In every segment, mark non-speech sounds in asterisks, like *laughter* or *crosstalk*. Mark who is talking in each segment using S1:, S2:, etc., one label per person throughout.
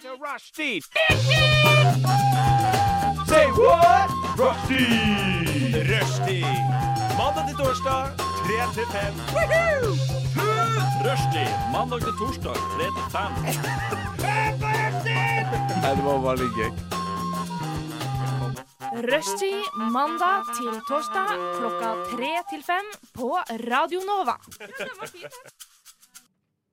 S1: to Rushdie. Say what? Rushdie. Rushdie. Mandag til torsdag, 3 til 5. Rushdie. Mandag til torsdag, 3 til 5.
S2: Rushtid mandag til torsdag klokka tre til fem på Radio Nova.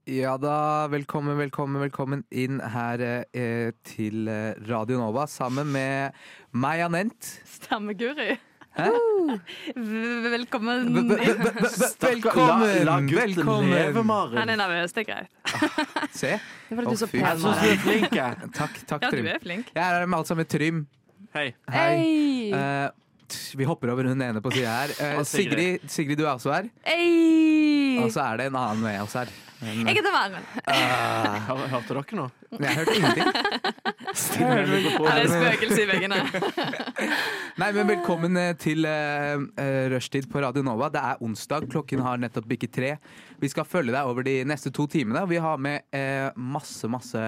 S3: Ja da, velkommen, velkommen, velkommen inn her eh, til eh, Radio Nova sammen med meg, Anent.
S4: Stammeguri.
S3: Hæ?
S4: V-
S3: V- v-
S4: Velkommen.
S3: v- v- v-
S5: La, la
S3: Velkommen!
S5: gutten leve,
S3: Velkommen!
S4: Han
S5: Maren.
S4: er nervøs, det er greit.
S3: Se.
S4: Det er fordi
S3: Å,
S4: du er så
S3: fy.
S4: pen.
S3: Jeg
S5: Jeg syns du
S4: Maren.
S5: er flink, jeg.
S3: Takk, takk,
S4: Ja, du
S3: Trym.
S4: er flink.
S3: Jeg er her med alt sammen med Trym.
S5: Hei.
S3: Hei.
S4: Ei.
S3: Eh, t- vi hopper over hun ene på sida her. Eh,
S5: Og Sigrid.
S3: Sigrid, Sigrid, du er også her.
S4: Ei.
S3: Og så er det en annen med oss her.
S4: Altså. Jeg heter Maren.
S5: Hør- Hørte dere nå?
S3: Men Jeg hørte ingenting.
S5: Stille
S4: Ja, det er
S5: mikrofonen.
S4: spøkelse i veggene.
S3: Nei, men velkommen eh, til uh, rushtid på Radio Nova. Det er onsdag, klokken har nettopp bikket tre. Vi skal følge deg over de neste to timene. Vi har med eh, masse, masse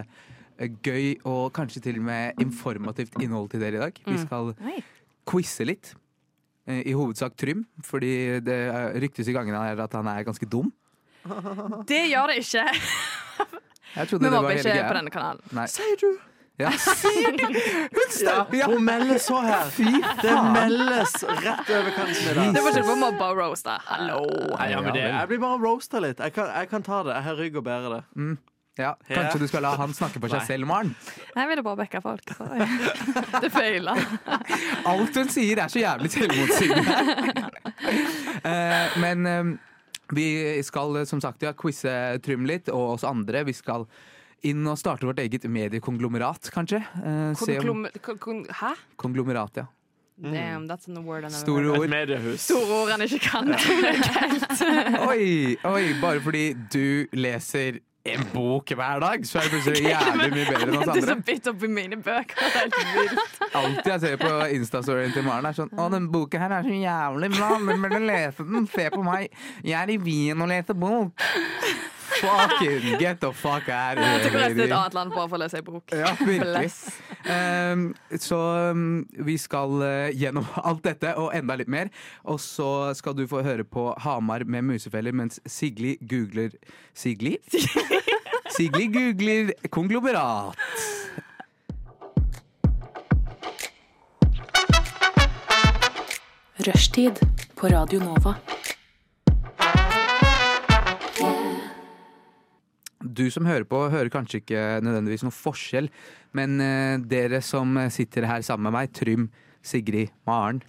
S3: eh, gøy og kanskje til og med informativt innhold til dere i dag. Vi skal
S4: Mm. Oi.
S3: quize litt. eh, I hovedsak Trym, fordi det eh, ryktes i gangene her at han er ganske dum.
S4: Det gjør det ikke.
S3: Jeg trodde
S4: Vi
S3: det var
S4: mobber
S3: hele
S4: ikke
S3: greia.
S4: på denne kanalen.
S3: Nei.
S5: Sier du?
S4: *laughs*
S3: Ja. Hun stemmer! Ja.
S5: Ja, hun melder så her. Det meldes rett over kanten i dag.
S4: Det var ikke på mobbe og roaste. Hallo.
S5: Nei, ja, men det, jeg blir bare roasta litt. Jeg kan, jeg kan ta det. Jeg har rygg og bære det.
S3: Ja,
S5: Ja.
S3: Kanskje du skal la han snakke for seg
S5: Nei.
S3: selv, Maren.
S4: Jeg ville bare backa folk. Sorry. *laughs* Det feiler.
S3: Alt hun sier er så jævlig selvmotsigende.
S4: *laughs*
S3: Eh, men eh, vi skal eh, som sagt ja, quize Trym litt, og oss andre. Vi skal inn og starte vårt eget mediekonglomerat, kanskje. Eh, se om-
S4: Konglom- kon- kon- Hæ?
S3: konglomerat, ja.
S4: Damn, that's not a word I never
S3: Store
S4: heard.
S1: *laughs*
S5: Et
S3: ord.
S5: mediehus.
S4: Store ord han ikke kan.
S3: Oi, oi, bare fordi du leser en bok hver dag, så er det plutselig jævlig mye
S4: *laughs*
S3: bedre enn oss
S4: Det er så
S3: andre.
S4: bitt opp i mine bøker. Det er helt vilt.
S3: Alt jeg ser på Insta-storyen til Maren, er sånn Å, den boka her er så jævlig bra, du burde lese den. Se på meg. Jeg er i Wien og leser bok. Fucking get the fuck out of
S4: Jeg
S3: here,
S4: går til
S3: baby.
S4: et annet land bare for å lese ei bok.
S3: Ja, virkelig.
S4: Bless.
S3: Ehm, så um, vi skal eh, gjennom alt dette og enda litt mer. Og så skal du få høre på Hamar med musefeller mens Sigli googler
S4: *laughs*
S3: Sigli? Sigli googler konglomerat.
S6: Rushtid på Radio Nova.
S3: Du som hører på, hører kanskje ikke nødvendigvis noen forskjell, men eh, dere som sitter her sammen med meg, Trym, Sigrid, Maren,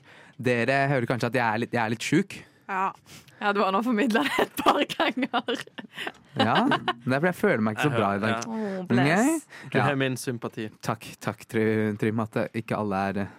S3: dere hører kanskje at jeg er litt, jeg er litt sjuk.
S4: Ja, du har nå formidla det et par ganger.
S3: Ja, det er fordi jeg føler meg ikke så bra i dag.
S4: Oh,
S3: Men jeg,
S5: Du
S3: ja,
S5: har min sympati.
S3: takk, takk, Try- Trym, at det ikke alle er eh,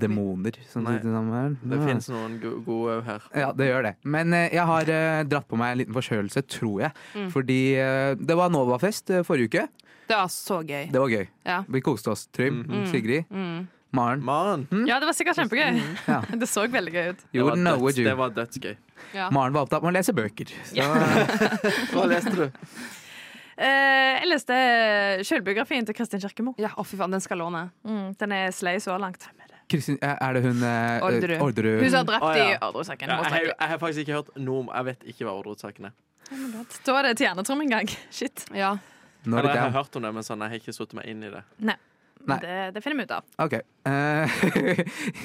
S3: demoner som
S5: Nei,
S3: sitter sammen her.
S5: Det
S3: Ja.
S5: fins noen go- gode òg her.
S3: Ja, det gjør det. Men eh, jeg har eh, dratt på meg en liten forkjølelse, tror jeg. Fordi eh, det var Novafest eh, forrige uke.
S4: Det var så gøy.
S3: Det var gøy.
S4: Ja.
S3: Vi koste oss.
S5: Mhm.
S3: Trym, Sigrid,
S4: Mm.
S3: Maren.
S5: Maren.
S3: Mm.
S4: Ja, det var sikkert kjempegøy.
S3: Ja.
S4: Mm. *laughs* Det så veldig gøy ut.
S5: Det var,
S3: Gjorde noe,
S5: døds,
S3: du.
S5: det var dødsgøy.
S4: Ja.
S3: Maren var opptatt med å lese bøker. Så,
S5: Hva leste du?
S4: Eh, jeg leste selvbiografien til Kristin Kirkemo. Ja, å fy faen, Den skal låne. Mm, den er slei så langt.
S3: Kristin, er det hun eh,
S4: Orderud.
S3: Orderud?
S4: Hun som er drept
S5: Å,
S4: i
S5: ja.
S4: Ordresaken.
S5: Ja,
S4: må
S5: jeg, har-
S4: snakke.
S5: jeg har faktisk ikke hørt noe om Jeg vet ikke hva ordrotsaken er.
S4: Da var det til hjernetrom en gang. *laughs* Shit. Ja.
S3: Når
S5: Eller, jeg har
S3: det er-
S5: hørt om det, men sånn, jeg har ikke satt meg inn i det.
S3: Nei.
S4: Det, det finner vi ut av.
S3: Ok. Eh, *laughs*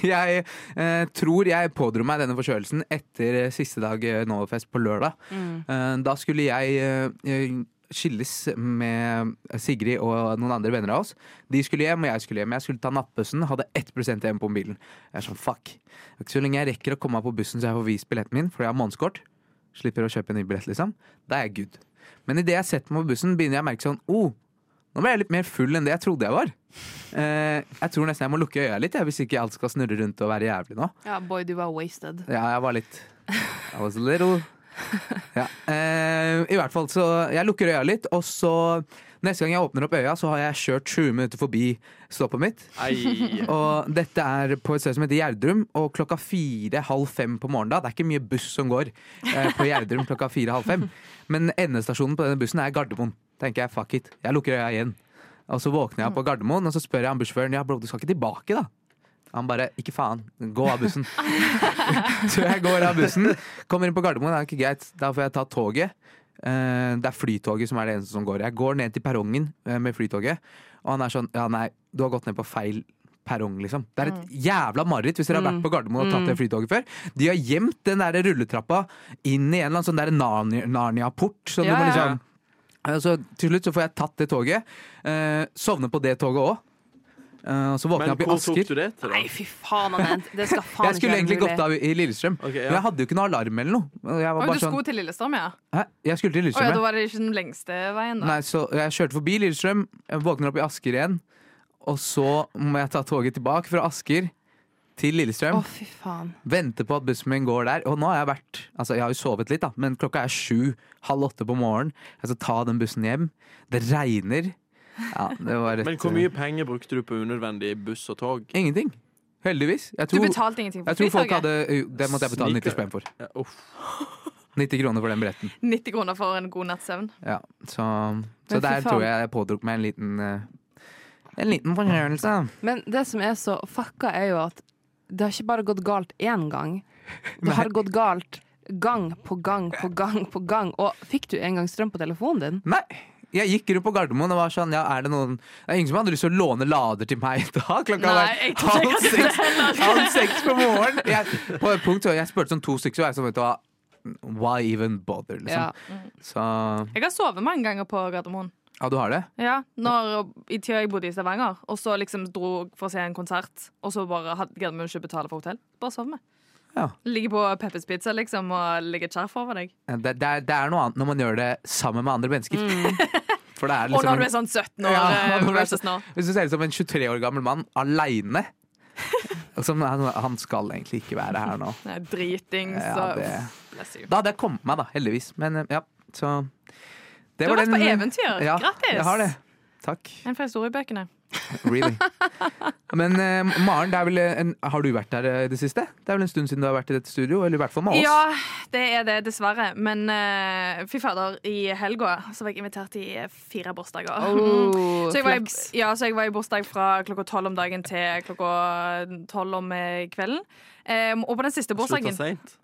S3: jeg eh, tror jeg pådro meg denne forkjølelsen etter eh, siste dag eh, Novafest på lørdag. Eh, da skulle jeg eh, eh, skilles med Sigrid og noen andre venner av oss. De skulle hjem, og jeg skulle hjem. Jeg skulle ta nattbussen, hadde 1 igjen på mobilen. Jeg er sånn, fuck. Det er Ikke så lenge jeg rekker å komme meg på bussen så jeg får vist billetten min, fordi jeg har månedskort. Slipper å kjøpe en ny billett, liksom. Da er jeg good. Men idet jeg setter meg på bussen, begynner jeg å merke sånn oh, nå ble jeg litt mer full enn det jeg trodde jeg var. Eh, jeg tror nesten jeg må lukke øya litt jeg, hvis ikke alt skal snurre rundt og være jævlig nå.
S4: Ja, boy, du var wasted.
S3: Ja, jeg var litt I was a little ja. eh, I hvert fall, så jeg lukker øya litt, og så Neste gang jeg åpner opp øya, så har jeg kjørt 20 minutter forbi stoppet mitt. *laughs*
S5: Ei.
S3: Og dette er på et sted som heter Gjerdrum, og klokka fire-halv fem på morgenen da Det er ikke mye buss som går eh, på Gjerdrum klokka fire-halv fem. Men endestasjonen på denne bussen er Gardermoen. Tenker jeg, fuck it. Jeg lukker øya igjen. Og så våkner jeg på Gardermoen, og så spør jeg han bussjåføren Ja, bro, du skal ikke tilbake, da? Han bare ikke faen, gå av bussen. *laughs* så jeg går av bussen, kommer inn på Gardermoen, det er ikke greit, da får jeg ta toget. Eh, det er Flytoget som er det eneste som går. Jeg går ned til perrongen eh, med Flytoget, og han er sånn Ja, nei, du har gått ned på feil perrong, liksom. Det er et
S4: Mm.
S3: jævla mareritt hvis dere har vært på Gardermoen og tatt det flytoget før. De har gjemt den der rulletrappa inn i en eller annen sånn der Narnia- Narnia-port, så du
S4: Ja,
S3: må
S4: ja, ja.
S3: liksom Eh, Så til slutt så får jeg tatt det toget. Eh, sovner på det toget òg. Eh, og så våkner
S5: Men
S3: jeg opp i
S5: hvor tok
S3: Asker.
S5: du det til, da?
S4: Nei, fy faen, Anette. Det skal faen
S3: Jeg skulle egentlig gått av i Lillestrøm,
S5: Ok, ja.
S3: men jeg hadde jo ikke noe alarm eller noe. Og Jeg, var
S4: Oi,
S3: bare
S4: du
S3: sånn,
S4: skulle til Lillestrøm, ja?
S3: Hæ? jeg skulle til
S4: Å ja, da
S3: Lillestrøm, ja.
S4: var det ikke den lengste veien, da.
S3: Nei, så jeg kjørte forbi Lillestrøm, jeg våkner opp i Asker igjen. Og så må jeg ta toget tilbake fra Asker til
S4: Å,
S3: Lillestrøm.
S4: fy faen.
S3: Vente på at bussen min går der. Og nå har jeg vært Altså, jeg har jo sovet litt, da, men klokka er sju, halv åtte på morgenen. Jeg skal ta den bussen hjem. Det regner. Ja, det
S5: *laughs*
S3: var rett eh,
S5: Men hvor mye penger brukte du på unødvendig buss og tog?
S3: Ingenting. Heldigvis. Jeg
S4: Du
S3: tror,
S4: betalte ingenting for
S3: jeg tror folk
S4: flytoget?
S3: hadde jo, Det måtte jeg betale 90
S5: Sniker.
S3: spenn for.
S5: Ja, Eh, uff.
S3: 90 kroner for den billetten.
S4: *laughs* 90 kroner for en god natts søvn.
S3: Ja, så
S4: Men
S3: så
S4: fy
S3: der
S4: faen.
S3: tror jeg jeg pådrok meg en liten eh, En liten fornøyelse.
S7: Men det som er så fucka, er jo at det har ikke bare gått galt én gang. Det
S3: Nei.
S7: har gått galt gang på gang på gang på gang. Og fikk du engang strøm på telefonen din?
S3: Nei. Jeg gikk rundt på Gardermoen og var sånn ja, er det, noen, det er ingen som hadde lyst til å låne lader til meg i dag? Klokka
S4: Nei, jeg
S3: var
S4: tror ikke
S3: halv seks, halv seks på morgenen. Jeg, på et punkt så jeg spurte sånn to stykker, så var jeg sånn vet du hva Why even bother,
S7: Ja.
S3: liksom. Så
S4: Jeg har sovet mange ganger på Gardermoen.
S3: Ja, du har det?
S4: Ja, når, I tida jeg bodde i Stavanger, og så liksom dro jeg for å se en konsert, og så bare hadde Gardermoen ikke betale for hotell. Bare sov med.
S3: Ja.
S4: Ligge på Peppers Pizza liksom, og legge et skjerf over deg.
S3: Det, det, er, det er noe annet når man gjør det sammen med andre mennesker. For det er
S4: Mm. Og
S3: liksom
S4: når du er sånn 17 år
S3: Ja,
S4: eh,
S3: når du er
S4: versus nå.
S3: Hvis du ser ut som en 23 år gammel mann aleine *laughs* som er sånn, Han skal egentlig ikke være her nå.
S4: Nei, Driting, så
S3: Ja, det,
S4: bless you.
S3: da hadde jeg kommet meg, da, heldigvis. Men eh, ja, så det
S4: Du har
S3: var
S4: vært
S3: den-
S4: på eventyr!
S3: Ja,
S4: Grattis!
S3: Jeg har det. Takk.
S4: En fra historiebøkene. *laughs*
S3: Really. Men eh, Maren, det er vel en, har du vært der eh, i det siste? Det er vel en stund siden du har vært i dette studio? Eller i hvert fall med oss.
S4: Ja, det er det, dessverre. Men eh, fy fader, i helga så var jeg invitert i fire bursdager.
S7: Oh,
S4: Så jeg, var i,
S7: flaks.
S4: ja, så jeg var i bursdag fra klokka tolv om dagen til klokka tolv om eh, kvelden. Em, og på den siste
S5: Slutta
S4: bursdagen
S5: seint?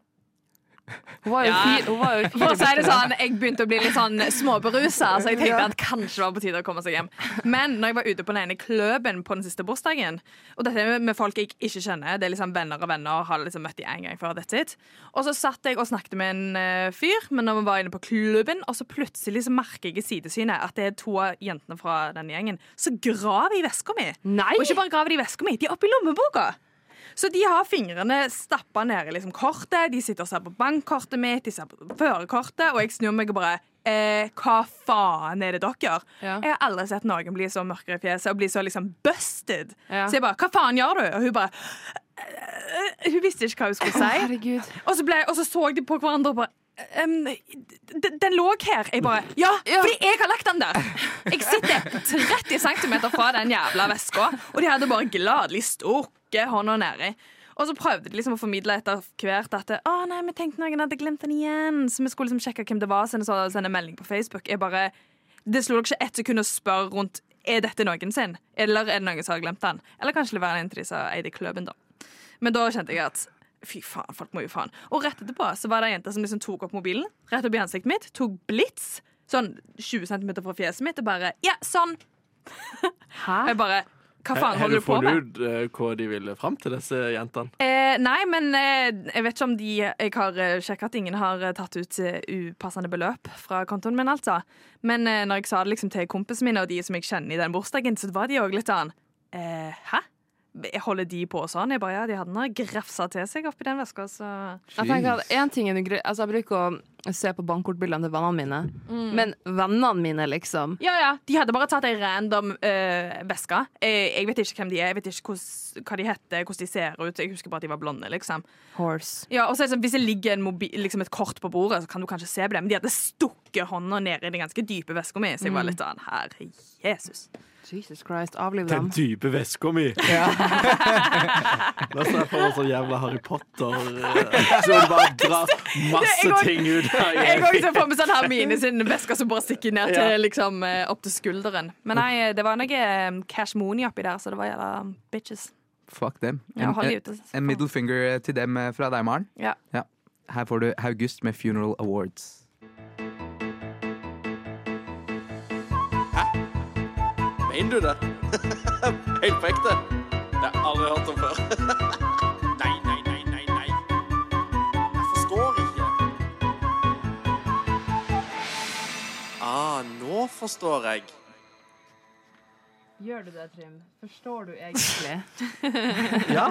S7: Hun var jo
S4: Ja.
S7: fire, hun var jo
S4: for
S7: fire
S4: å si det sånn, Jeg begynte å bli litt sånn småberusa, så jeg tenkte at kanskje det var på tide å komme seg hjem. Men når jeg var ute på den ene kløben på den siste bursdagen Og dette er med folk jeg ikke kjenner, det er liksom venner og venner, har liksom møtt de en gang før. That's it. Og så satt jeg og snakket med en eh, fyr, men når vi var inne på klubben, og så plutselig så merker jeg i sidesynet at det er to av jentene fra denne gjengen som graver i veska mi.
S7: Nei!
S4: Og ikke bare graver de i veska mi, de er oppi lommeboka. Så de har fingrene stappa ned i liksom kortet, de sitter og ser på bankkortet mitt, de ser på førerkortet, og jeg snur meg og bare eh, Hva faen er det dere gjør?
S7: Ja.
S4: Jeg har aldri sett noen bli så mørkere i fjeset og bli så liksom busted.
S7: Ja.
S4: Så jeg bare Hva faen gjør du? Og hun bare «Eh, Hun visste ikke hva hun skulle si.
S7: Herregud.
S4: Og så, ble, og så så de på hverandre og bare «Em, d- den lå her. Jeg bare Ja, fordi jeg har lagt den der! Jeg sitter 30 cm fra den jævla veska, og de hadde bare gladelig stukket hånda nedi. Og så prøvde de liksom å formidle etter hvert at Å nei, vi tenkte noen hadde glemt den igjen. Så vi skulle liksom sjekke hvem det var, sende, så- sende melding på Facebook. Jeg bare Det slo dere ikke ett sekund å spørre rundt Er dette noen sin, eller er det noen som har glemt den. Eller kanskje det var en av de som eide klubben, da. Men da kjente jeg at Fy faen, folk må jo faen. Og rett etterpå så var det ei jente som liksom tok opp mobilen rett opp i ansiktet mitt, tok blits sånn 20 cm fra fjeset mitt og bare Ja, sånn!
S7: Hæ?
S4: Og jeg bare Hva faen
S5: Har
S4: holder
S5: du
S4: du på
S5: funnet
S4: med?
S5: ut eh, hva de ville fram til, disse jentene?
S4: Eh, nei, men eh, jeg vet ikke om de Jeg har eh, sjekka at ingen har eh, tatt ut eh, upassende beløp fra kontoen min, altså. Men eh, når jeg sa det liksom til kompisene mine og de som jeg kjenner i den bursdagen, så var de òg litt sånn eh, Hæ? Holder de på sånn? Jeg bare, ja, De hadde nå grafsa til seg oppi den veska, så
S7: Jeg tenker at en ting er noe greit Altså, jeg bruker å se på bankkortbildene til vennene mine, men vennene mine, liksom
S4: Ja, ja. De hadde bare tatt ei random eh, veske. Eh, jeg vet ikke hvem de er, jeg vet ikke hvordan, hva de heter, hvordan de ser ut. Jeg husker bare at de var blonde. liksom.
S7: Horse.
S4: Ja, og så er det sånn, Hvis det ligger en mobi- liksom et kort på bordet, så kan du kanskje se Mm. på det, men de hadde stukket hånda ned i den ganske dype veska mi, så jeg var litt sånn Herre Jesus.
S7: Jesus Christ, avliv
S5: Den
S7: dem.
S5: dype
S4: *laughs*
S5: veska mi. *laughs*
S3: Ja.
S5: Da ser jeg for meg sånn jævla Harry Potter. eh, Så det bare drar
S4: *laughs* Det- jeg
S5: masse
S4: går-
S5: ting ut.
S4: *laughs* Jeg
S5: her.
S4: går ikke for meg sånn Hermine sin veske som bare stikker ned til, liksom, eh, opp til skulderen. Men nei, det var noe eh, cash money oppi der, så det var jævla bitches.
S3: Fuck dem.
S4: Ja,
S3: En,
S4: hold de
S3: en,
S4: ute.
S3: en middle finger til dem eh, fra deg, Maren.
S4: Ja.
S3: Her får du Haugust med Funeral Awards.
S5: Mener du det? Helt på ekte? Det har jeg aldri hørt om før. Nei, nei, nei, nei, nei. Jeg forstår ikke. Ah, nå forstår jeg.
S7: Gjør du det, Trym? Forstår du *laughs* egentlig?
S5: Ja.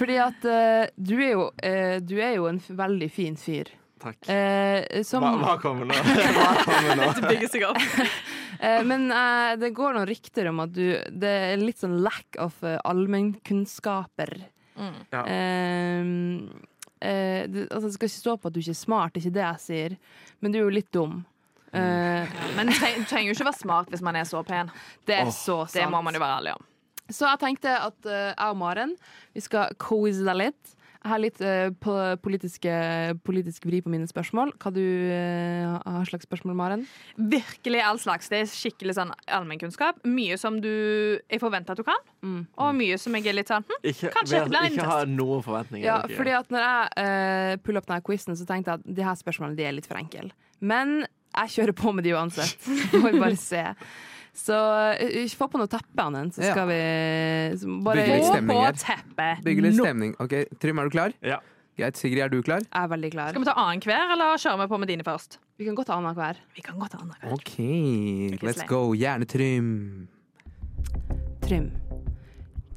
S7: Fordi at eh, du, er jo, eh, du er jo en f- veldig fin fyr.
S5: Takk.
S7: Eh, som,
S5: Hva, hva kommer nå? Hva kommer nå?
S4: Det bygger seg opp.
S7: Eh, men eh, det går noen rykter om at du Det er litt sånn lack of uh, allmennkunnskaper.
S4: Mm.
S5: Ja.
S7: Eh, eh, det, altså, det skal ikke stå på at du ikke er smart, det er ikke det jeg sier, men du er jo litt dum. Eh,
S4: Men tre- du trenger jo ikke være smart hvis man er så pen.
S7: det er så sant.
S4: Det må man jo være ærlig om.
S7: Så jeg tenkte at eh, jeg og Maren Vi skal quize deg litt. Jeg har litt eh, po- politiske, politisk vri på mine spørsmål. Hva du eh, har slags spørsmål, Maren?
S4: Virkelig all slags. Det er skikkelig sånn allmennkunnskap. Mye som du jeg forventer at du kan, og mye som jeg er litt sånn hm,
S5: Ikke,
S4: Kanskje
S5: vel,
S4: blind
S5: ikke ha noen forventninger.
S7: Ja,
S5: dere.
S7: fordi at når jeg uh, puller opp denne quizen, så tenkte jeg at de her spørsmålene de er litt for enkle. Men jeg kjører på med de
S3: *laughs*
S7: uansett. Får vi bare se. Så eh, få på noe teppe, Annen, så
S3: Ja.
S7: skal vi så bare,
S3: Bygge litt
S7: Jeg
S3: stemning.
S4: på
S3: her.
S4: teppet.
S3: Bygge litt stemning. Ok, Trym, er du klar?
S5: Ja.
S3: Greit. Sigrid, er du klar?
S7: er veldig klar.
S4: Skal vi ta annenhver, eller kjører vi på med dine først?
S7: Vi kan godt ta annenhver.
S4: Vi kan gå til annenhver.
S3: OK, let's
S4: slay.
S3: go. Gjerne Trym.
S7: Trym.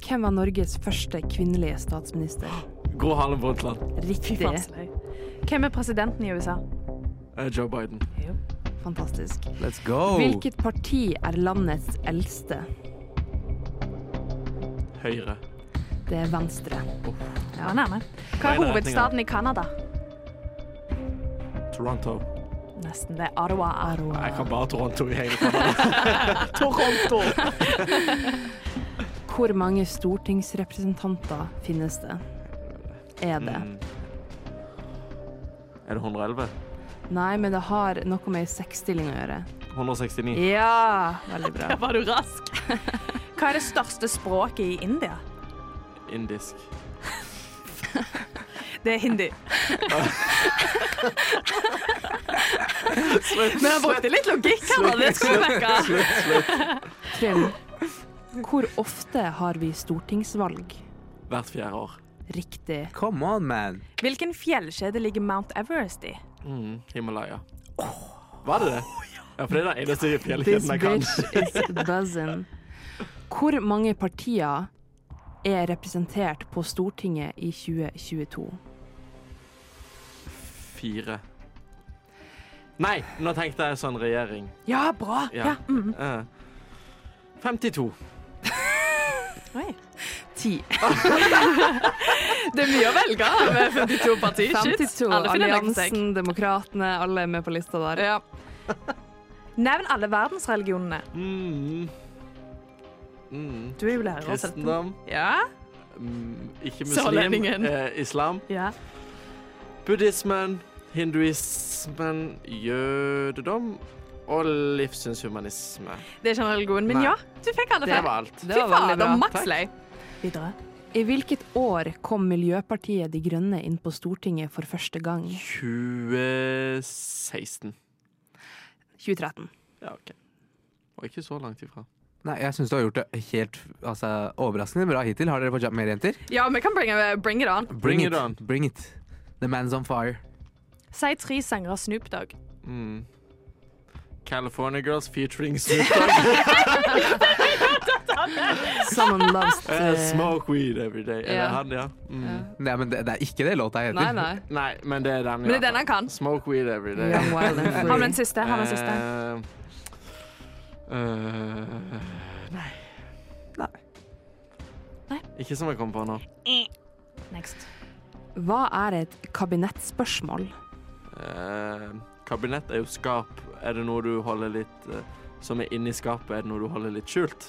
S7: Hvem var Norges første kvinnelige statsminister?
S5: Gro Harlem Brundtland.
S7: Riktig.
S4: Hvem er presidenten i USA?
S5: Eh, Joe Biden.
S7: Fantastisk.
S3: Let's go.
S7: Hvilket parti er landets eldste?
S5: Høyre.
S7: Det er Venstre.
S4: Ja, nærme. Hva er
S5: Nei, nei,
S4: hovedstaden i Canada?
S5: Toronto.
S4: Nesten det. er Ottawa.
S5: Jeg kan bare Toronto i hele landet.
S4: *laughs*
S5: Toronto!
S7: Hvor mange stortingsrepresentanter finnes det? Er det?
S5: *laughs* Er det 111?
S7: Nei, men det har noe med seksstilling å gjøre.
S5: 169.
S7: Ja! Veldig
S4: *laughs*
S7: bra.
S4: Der var du rask. Hva er det største språket i India?
S5: Indisk.
S4: Det er hindi.
S5: Slutt,
S4: Men han *laughs* brukte litt logikk her. da. Det skal vi merke.
S5: slutt, slutt.
S7: Trym, hvor ofte har vi stortingsvalg?
S5: Hvert fjerde år.
S7: Riktig.
S3: Come on, man.
S4: *laughs* Hvilken fjellkjede ligger Mount Everest i?
S5: Mm, Himalaya. Var det det? Ja, for det er den eneste
S7: This
S5: fjellkjeden jeg kan.
S7: bitch is buzzing. Hvor mange partier er representert på Stortinget i 2022?
S5: Fire. Nei, nå tenkte jeg sånn regjering.
S4: Ja, bra.
S5: Ja. Eh, 52.
S7: Ti.
S4: Det er mye å velge av med 52 partier. Shit.
S7: 52.
S4: Alle finner noe for seg.
S7: Alliansen, Demokratene, alle er med på lista der.
S4: Ja. Nevn alle verdensreligionene.
S5: Mm. Mm.
S4: Du er jo lærer. Selten.
S5: Kristendom,
S4: Ja.
S5: mm, ikke muslim,
S4: Sørlendingen.
S5: eh, islam.
S4: ja.
S5: Buddhismen, hinduismen, jødedom og livssynshumanisme.
S4: Det er ikke en religion, men
S5: Nei.
S4: ja. Du fikk alle
S5: Det
S4: fem.
S5: var alt.
S4: Fy
S7: Det var veldig
S4: fader,
S7: bra.
S4: maks lei. Videre.
S7: I hvilket år kom Miljøpartiet De Grønne inn på Stortinget for første gang?
S5: 2016.
S7: 2013.
S5: Ja, OK. Og ikke så langt ifra.
S3: Nei, jeg syns du har gjort det helt altså, overraskende bra hittil. Har dere fortsatt mer jenter?
S4: Ja, vi kan bring, bring it on.
S5: Bring it on.
S3: Bring it. The man's on fire.
S4: Si tre sanger av Snoop Dogg.
S5: Mm. California Girls featuring Snoop Dogg.
S7: Someone loves
S5: Eh,
S7: the-
S5: Smoke weed every day. Er
S7: Ja.
S5: det han, ja? Mm.
S3: Nei, men det, det er ikke det låta heter.
S7: Nei,
S3: *laughs*
S7: nei.
S5: Nei, men det er den.
S4: Men det er den han kan.
S5: Smoke weed every day. Mm.
S7: Young, wild and
S4: Har du
S7: free.
S4: en siste? Har du en siste?
S5: Eh, eh, nei.
S4: Nei.
S5: Ikke som jeg kom på nå.
S4: Next.
S7: Hva er et kabinettspørsmål?
S5: Eh, kabinett er jo skap. Er det noe du holder litt eh, Som er inni skapet, er det noe du holder litt skjult?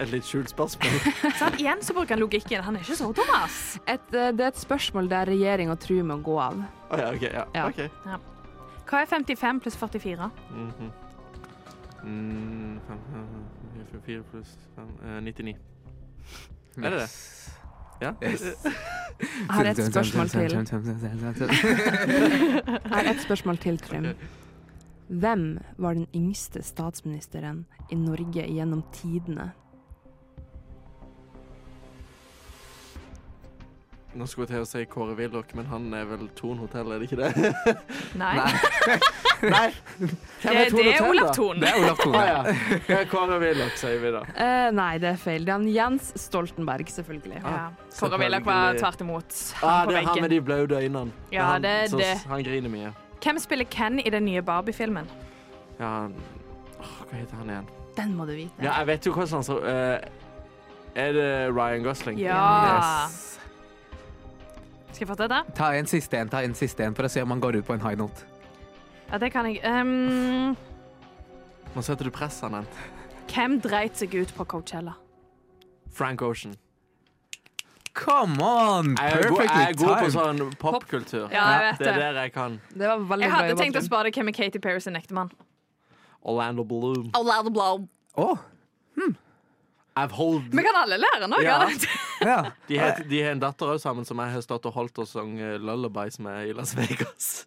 S5: Et litt skjult spørsmål.
S4: Sant? Igjen så bruker han logikken. Han er ikke så dum, ass.
S7: Et, eh, det er et spørsmål der regjeringa truer med å gå av.
S5: Å ja, OK. Ja.
S7: Ja.
S5: Ok.
S4: Hva er 55 pluss 44?
S5: Mhm. Mm, fem, fem, fem, fire pluss fem, eh, 99. Er det det? Ja.
S7: Jeg har et spørsmål til. Jeg har et spørsmål til, Trym. Hvem var den yngste statsministeren i Norge gjennom tidene?
S5: *laughs* Nå skulle jeg til å si Kåre Willoch, men han er vel Thon hotell, er det *laughs* ikke det?
S4: Nei.
S5: Nei! Hvem
S4: Det, det er
S5: Hotell,
S4: Olav
S5: da?
S4: Thon.
S3: Det er Olav
S5: Å
S3: Tone.
S5: ja. *laughs* ja. Kåre Willoch, sier vi da.
S7: Eh, nei, det er feil. Det er han Jens Stoltenberg, selvfølgelig.
S4: Ja. Kåre Willoch var
S5: selvfølgelig.
S4: tvert imot.
S5: Ah,
S4: på
S5: det er han
S4: veggen.
S5: med de blaude øynene.
S4: Ja,
S5: han,
S4: det er
S5: som-
S4: det.
S5: Han griner mye.
S4: Hvem spiller Ken i den nye Barbie-filmen?
S5: Ja, han- Åh, hva heter han igjen?
S7: Den må du vite.
S5: Ja, jeg vet jo hvordan han ser eh, Er det Ryan Gosling?
S7: Ah.
S4: Ja.
S5: Yes.
S4: Skal jeg fortelle det?
S3: Ta en siste en, ta en siste en for å se om han går ut på en high note.
S4: Ja, det kan jeg. Ehm,
S5: Nå setter du press, han Ant.
S4: hvem dreit seg ut på Coachella?
S5: Frank Ocean.
S3: Come on!
S5: Jeg er, god, jeg er god på
S3: Perfectly timed.
S5: sånn popkultur.
S4: Ja, jeg vet
S5: Det er
S4: det.
S5: der jeg kan.
S7: Det var veldig
S4: Jeg
S7: bra
S4: hadde
S7: jobba,
S4: tenkt å
S7: Trym.
S4: spørre hvem er Katy Perry sin ektemann.
S5: Orlando Bloom.
S3: Å,
S5: I've hold...
S4: Vi kan alle lære noe *laughs*
S5: Ja.
S4: av det.
S3: ja.
S5: De het- de har en datter òg sammen som jeg har stått og holdt og sunget lullabies med i Las Vegas.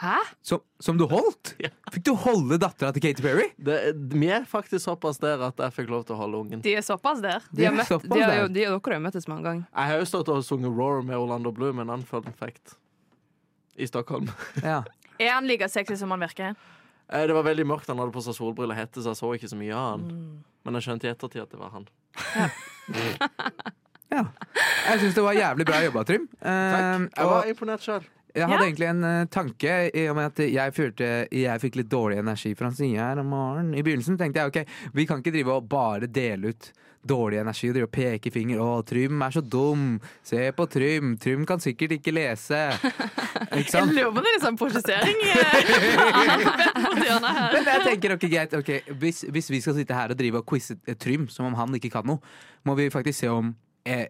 S7: Hæ?
S3: Som, som du holdt?
S5: Ja.
S3: Fikk du holde dattera til Katy Perry?
S5: Det, vi er faktisk såpass der at jeg fikk lov til å holde ungen.
S4: De er såpass der.
S7: De har
S3: Det er
S7: møtt,
S3: såpass
S7: de har jo,
S3: der.
S7: de, dere har jo møttes mange ganger.
S5: Jeg har jo stått og sunget Roar med Orlando Bloom, en annen fun fact. I Stockholm.
S3: Ja.
S4: Er han like sexy som han virker?
S5: Eh, Det var veldig mørkt, han hadde på seg solbriller og hette, så jeg så ikke så mye av han. Men jeg skjønte i ettertid at det var han.
S3: ja. Jeg syns det var jævlig bra jobba, Trym.
S5: Takk.
S3: Eh,
S5: Jeg
S3: og
S5: var imponert sjøl.
S3: jeg hadde
S4: Ja.
S3: egentlig en eh, tanke i og med at jeg følte jeg fikk litt dårlig energi fra han siden her om morgenen. I begynnelsen tenkte jeg ok, vi kan ikke drive og bare dele ut dårlig energi og drive og peke finger. Å, Trym er så dum. Se på Trym. Trym kan sikkert ikke lese. Ikke
S4: Jeg
S3: sant?
S4: lurer på om det er litt sånn prosjessering. *laughs* eh,
S3: Men jeg tenker, ok, greit, ok, hvis, hvis vi skal sitte her og drive og quize eh, Trym som om han ikke kan noe, må vi faktisk se om eh,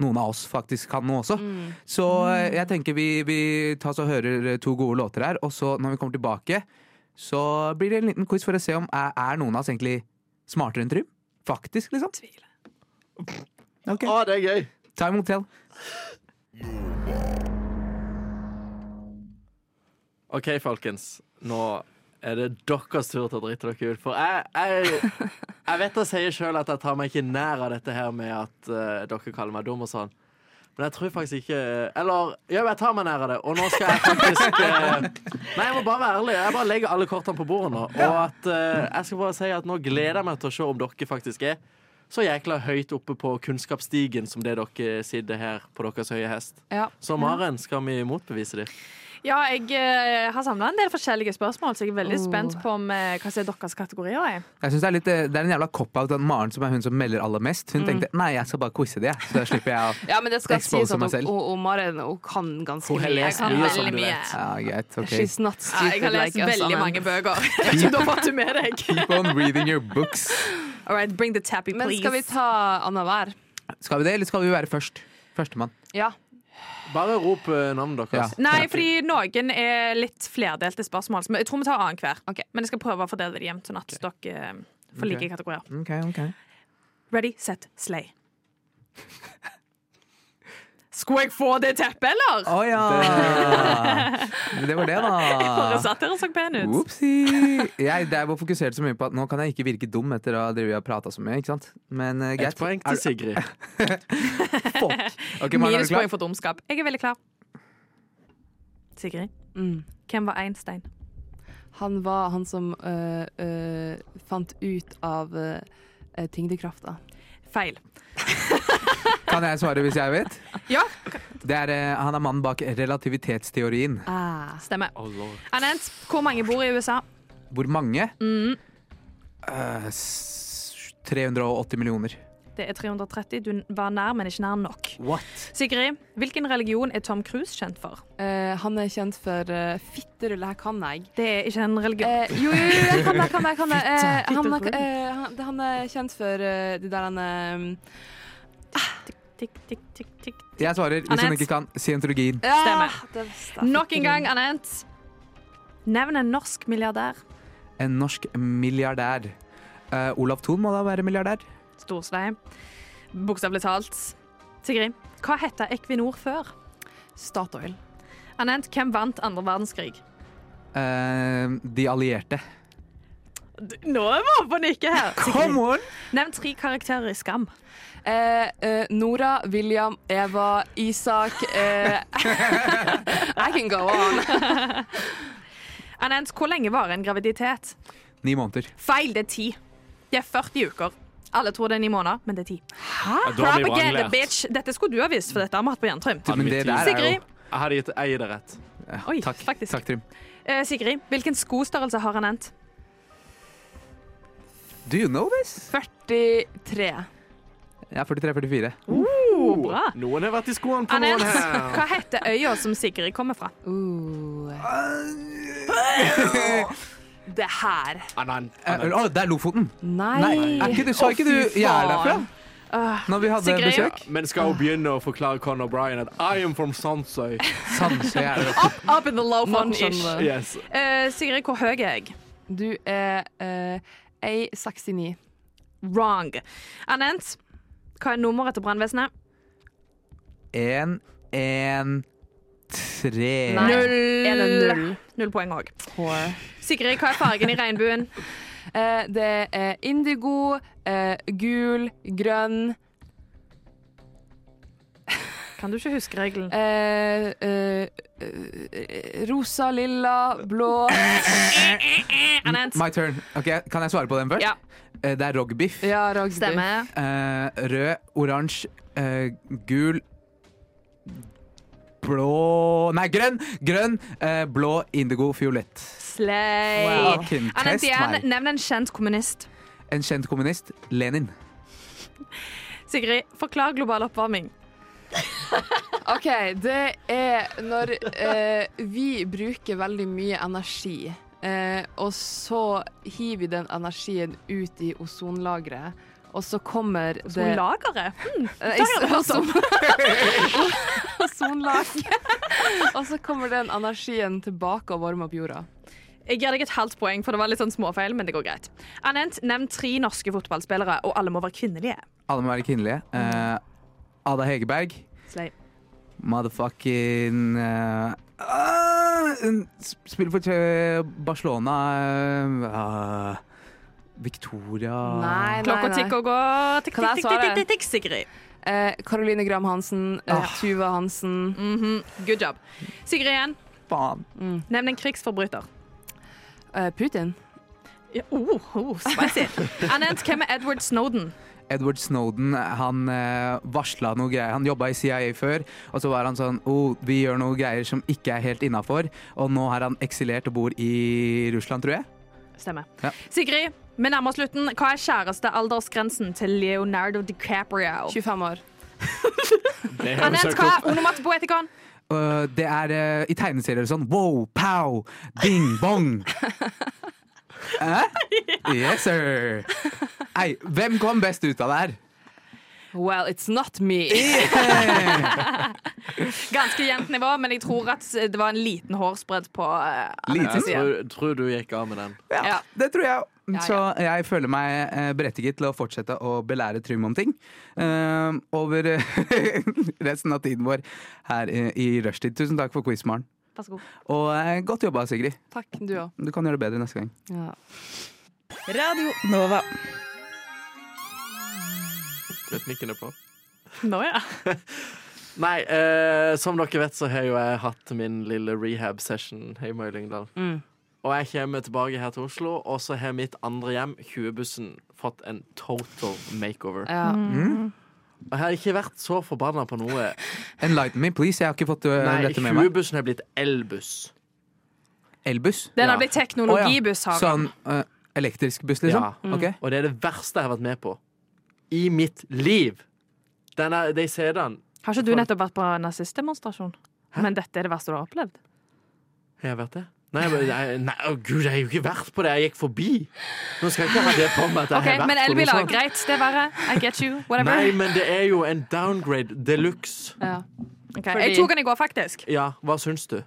S3: noen av oss faktisk kan noe også.
S7: Mm.
S3: Så eh, jeg tenker vi, vi tar så hører to gode låter her, og så når vi kommer tilbake, så blir det en liten quiz for å se om er, er noen av oss egentlig smartere enn Trym? Faktisk, liksom. Ok,
S5: Å, det er gøy!
S3: time will tell.
S5: OK, folkens. Nå er det deres tur til å drite dere ut. For jeg, jeg, jeg vet jeg sier sjøl at jeg tar meg ikke nær av dette her med at eh, dere kaller meg dum og sånn. Men jeg tror faktisk ikke Eller jo, jeg tar meg nær av det. Og nå skal jeg faktisk eh, Nei, jeg må bare være ærlig. Jeg bare legger alle kortene på bordet nå. Og at eh, jeg skal bare si at nå gleder jeg meg til å se om dere faktisk er så jækla høyt oppe på kunnskapsstigen som det dere sitter her på deres høye hest.
S7: Ja.
S5: Så Maren, skal vi motbevise det?
S4: Ja, jeg eh, har samla en del forskjellige spørsmål, så jeg er veldig
S7: Oh.
S4: spent på om, eh, hva som er deres kategorier. Jeg.
S3: Jeg synes det er, litt, eh, det er en jævla cop-out at Maren, som er hun som melder aller mest, hun tenkte, nei, jeg skal bare quize det, jeg, så da slipper jeg å...
S7: ja, men det skal
S3: Expose
S7: sies at
S3: meg
S7: hun,
S3: selv.
S7: hun, hun Maren hun kan ganske
S5: Hun har
S7: mye.
S5: lest mye, som du vet.
S3: Ja, greit, ok.
S7: She's not
S4: Ja,
S7: stupid
S4: jeg har lest
S7: like us,
S4: veldig
S7: amen.
S4: mange bøker. Jeg vet ikke om du har fått det med deg.
S3: Keep on reading your books.
S4: All right, bring the tappy,
S7: Men
S4: please.
S7: skal vi ta annenhver?
S3: Skal vi det, eller skal vi være først? Førstemann.
S7: Ja.
S5: Bare rop eh, navnet
S3: Ja.
S5: deres.
S4: Nei, fordi noen er litt flerdelte spørsmål. Så jeg tror vi tar annenhver.
S7: Ok.
S4: Men jeg skal prøve å fordele det jevnt, sånn at dere eh, får like
S3: Ok.
S4: kategorier.
S3: Ok, ok.
S4: Ready, set, slay. Skulle jeg få det teppet, eller?
S3: Å ja! *laughs* Det var det,
S4: Bare
S3: da.
S4: satt der og så pen ut.
S3: Opsi! Jeg der var fokusert så mye på at nå kan jeg ikke virke dum etter å ha drevet og prata så mye. ikke sant? Men eh, greit.
S5: Et poeng til
S4: *laughs*
S5: Sigrid.
S3: Ok, Maren, er du
S4: Minuspoeng
S3: klar?
S4: for dumskap. Jeg er veldig klar. Sigrid,
S7: Mm.
S4: hvem var Einstein?
S7: Han var han som øh, øh, fant ut av øh, øh, tyngdekrafta.
S4: Feil.
S3: Kan jeg svare hvis jeg vet?
S4: *laughs* Ja.
S3: Det er, eh, han er mannen bak relativitetsteorien.
S7: Ah.
S4: Stemmer.
S5: Å, lord.
S4: Anent, hvor mange bor i USA? Mm.
S3: Hvor mange? Eh, s- 380 millioner.
S4: Det er 330. Du var nær, men ikke nær nok.
S3: What?
S4: Sigrid, hvilken religion er Tom Cruise kjent for?
S7: Eh, han er kjent for uh, fitterulle. Her kan jeg.
S4: Det er ikke en religion.
S7: Eh, jo, jo, jo, jeg kan det, jeg kan det. Jeg kan det. Eh,
S4: Fitte.
S7: han, er,
S4: Fitterulle.
S7: eh, han, han er kjent for eh, de der han eh,
S4: Tikk, tikk, tikk, tikk.
S3: Jeg svarer, hvis hun
S4: Annette.
S3: ikke kan, scientologien.
S7: ja,
S4: Stemmer.
S7: det visste jeg.
S4: Nok en gang, Anette. Nevn en norsk milliardær.
S3: En norsk milliardær. Eh, Olav Thon må da være milliardær.
S4: Storsvei. Bokstavelig talt. Sigrid, hva hette Equinor før?
S7: Statoil.
S4: Anette, hvem vant andre verdenskrig?
S3: Eh, de allierte.
S4: D- Nå er vi oppe og nikker her.
S3: Come on!
S4: Nevn tre karakterer i Skam.
S7: Eh, eh, Nora, William, Eva, Isak eh, *laughs* I can go on.
S4: Anette, hvor lenge varer en graviditet?
S3: Ni måneder.
S4: Feil, det er ti. Det er 40 uker. Alle tror det er ni måneder, men det er ti.
S5: Ja, da har vi
S4: Propaganda,
S5: vranglært.
S4: bitch! Dette skulle du ha visst, for dette har vi hatt på Jerntrym.
S3: Du, men det der er jo
S4: Sigrid,
S5: Jeg hadde gitt jeg gir det rett.
S3: ja,
S4: Oi,
S3: takk,
S4: faktisk.
S3: takk, Trym.
S4: eh, Sigrid, hvilken skostørrelse har Anette?
S3: Do you know this?
S7: 43.
S3: Jeg er 43-44.
S4: Oh, bra.
S5: Noen har vært i skoene på noen
S4: Anette,
S5: her.
S4: *laughs* hva heter øya som Sigrid kommer fra?
S7: Uh. Det her.
S5: Anan,
S3: Eh,
S5: anan.
S3: Å, det er Lofoten!
S7: Nei.
S3: Nei, er ikke du, sa
S7: Å,
S3: ikke
S7: fy
S3: du jeg er derfra?
S7: faen.
S3: Når vi hadde
S4: Sigrid?
S3: besøk?
S5: Men skal hun begynne å forklare Conor Bryan at I am from Sandsøy?
S3: Sandsøy er det.
S4: Up in the low
S7: Nå skjønner du.
S5: Yes.
S4: Eh, Sigrid, hvor høy er jeg?
S7: Du er eh, 1,69.
S4: Wrong. Anent, hva er nummeret til brannvesenet?
S3: En, en, tre
S7: Nei.
S4: Er det
S7: Null.
S4: null? Null poeng òg.
S7: Whore.
S4: Sigrid, hva er fargen i regnbuen?
S7: Eh, det er indigo, eh, gul, grønn
S4: Kan du ikke huske regelen?
S7: eh, eh, eh, Rosa, lilla, blå
S4: Anent,
S3: My turn. Ok, Kan jeg svare på den først?
S4: Ja.
S3: Eh, det er rogbiff.
S7: Ja, Ragdi.
S4: stemmer.
S3: Eh, rød, oransje, eh, gul Blå Nei, grønn! Grønn, eh, blå, indigo, fiolett.
S4: Slay.
S3: Wow. Fucking
S4: Anent
S3: test
S4: igjen,
S3: meg.
S4: nevn en kjent kommunist.
S3: En kjent kommunist. Lenin.
S4: Sigrid, forklar global oppvarming.
S7: OK, det er når eh, vi bruker veldig mye energi, eh, og så hiver vi den energien ut i ozonlageret, og så kommer det
S4: Lageret? Hmm.
S7: Eh,
S4: Der har jeg hørt om.
S7: ozon- *laughs* Ozonlag. *laughs* og så kommer den energien tilbake og varmer opp jorda.
S4: Jeg gir deg et halvt poeng, for det var litt sånn småfeil, men det går greit. Anent, nevn tre norske fotballspillere, og alle må være kvinnelige.
S3: Alle må være kvinnelige. Eh, Ada Hegerberg.
S4: Slay.
S3: Motherfucking eh, ah, hun s- Spiller for eh, Barcelona eh, ah, Victoria
S7: Nei, nei,
S4: Klokka
S7: nei.
S4: tikker og går. Tikk,
S7: Kan jeg
S4: tikk, tikk,
S7: svare?
S4: tikk, tikk, tikk, Sigrid.
S7: Eh, Caroline Graham Hansen,
S5: Ah.
S7: eh, Tuva Hansen
S4: Mhm. Good job. Sigrid igjen,
S3: Faen.
S4: nevn en krigsforbryter.
S7: eh, Putin.
S4: Ja, oh, oh, spicy. *laughs* Anent, hvem er Edward Snowden?
S3: Edward Snowden han eh, varsla noe greier. Han jobba i CIA før, og så var han sånn oh, Vi gjør noe greier som ikke er helt innafor. Og nå har han eksilert og bor i Russland, tror jeg.
S4: Stemmer.
S3: Ja.
S4: Sigrid, vi nærmer oss slutten. Hva er kjærestealdersgrensen til Leonardo DiCaprio?
S7: 25 år.
S5: Det har vi
S4: Anent,
S5: søkt
S4: hva
S5: opp.
S4: er onomatopoetikon?
S3: Øh, det er eh, i tegneserier sånn wow, pow, ding, bong. Hæ? Yes, sir. Ei, hvem kom best ut av det her?
S7: Well, it's not me.
S4: Ganske jevnt nivå, men jeg tror at det var en liten hårsbredd på eh,
S3: Liten?
S4: Anents
S5: Jeg
S4: side.
S5: tror, tror du gikk av med den.
S4: Ja.
S3: Det tror jeg.
S4: Ja, ja.
S3: Så jeg føler meg eh, berettiget til å fortsette å belære Trym om ting eh, over *laughs* eh, resten av tiden vår her eh, i rushtid. Tusen takk for quiz, Maren.
S4: Vær så god.
S3: Og eh, godt jobba, Sigrid.
S7: Takk, du òg.
S3: Du kan gjøre det bedre neste gang.
S7: Ja.
S8: Radio Nova.
S5: Rytmikken er på.
S4: Nå, ja.
S5: Nei, eh, som dere vet så har jo jeg hatt min lille rehab-session hjemme i Lyngdal.
S7: Mm.
S5: Og jeg kommer tilbake her til Oslo, og så har mitt andre hjem, 20-bussen, fått en total makeover.
S7: Ja.
S5: Og jeg har ikke vært så forbanna på noe.
S3: *laughs* Enlighten me, please. Jeg har ikke fått eh,
S5: Nei,
S3: dette med meg.
S5: 20-bussen har blitt elbuss.
S3: Elbuss?
S4: Den har
S5: Ja.
S4: blitt
S3: Å ja.
S4: teknologibuss, Hagen.
S3: Sånn eh, elektrisk buss, liksom?
S5: Ja.
S3: Ok.
S5: Og det er det verste jeg har vært med på. i mitt liv. Den er, de CD-ene
S4: Har ikke du nettopp vært på nazistdemonstrasjon? Men dette er det verste du har opplevd?
S5: Har jeg vært det? Nei, men- nei, nei å gud, jeg har jo ikke vært på det. Jeg gikk forbi. Nå skal jeg ikke ha det på meg at jeg
S4: Ok,
S5: har vært
S4: Men
S5: på noe
S4: elbiler,
S5: sånt.
S4: greit, det er verre. I get you. Whatever.
S5: Nei, men det er jo en downgrade de luxe.
S7: Ja.
S4: Ok,
S7: fordi-
S4: Jeg tok den i går, faktisk.
S5: Ja, hva syns du?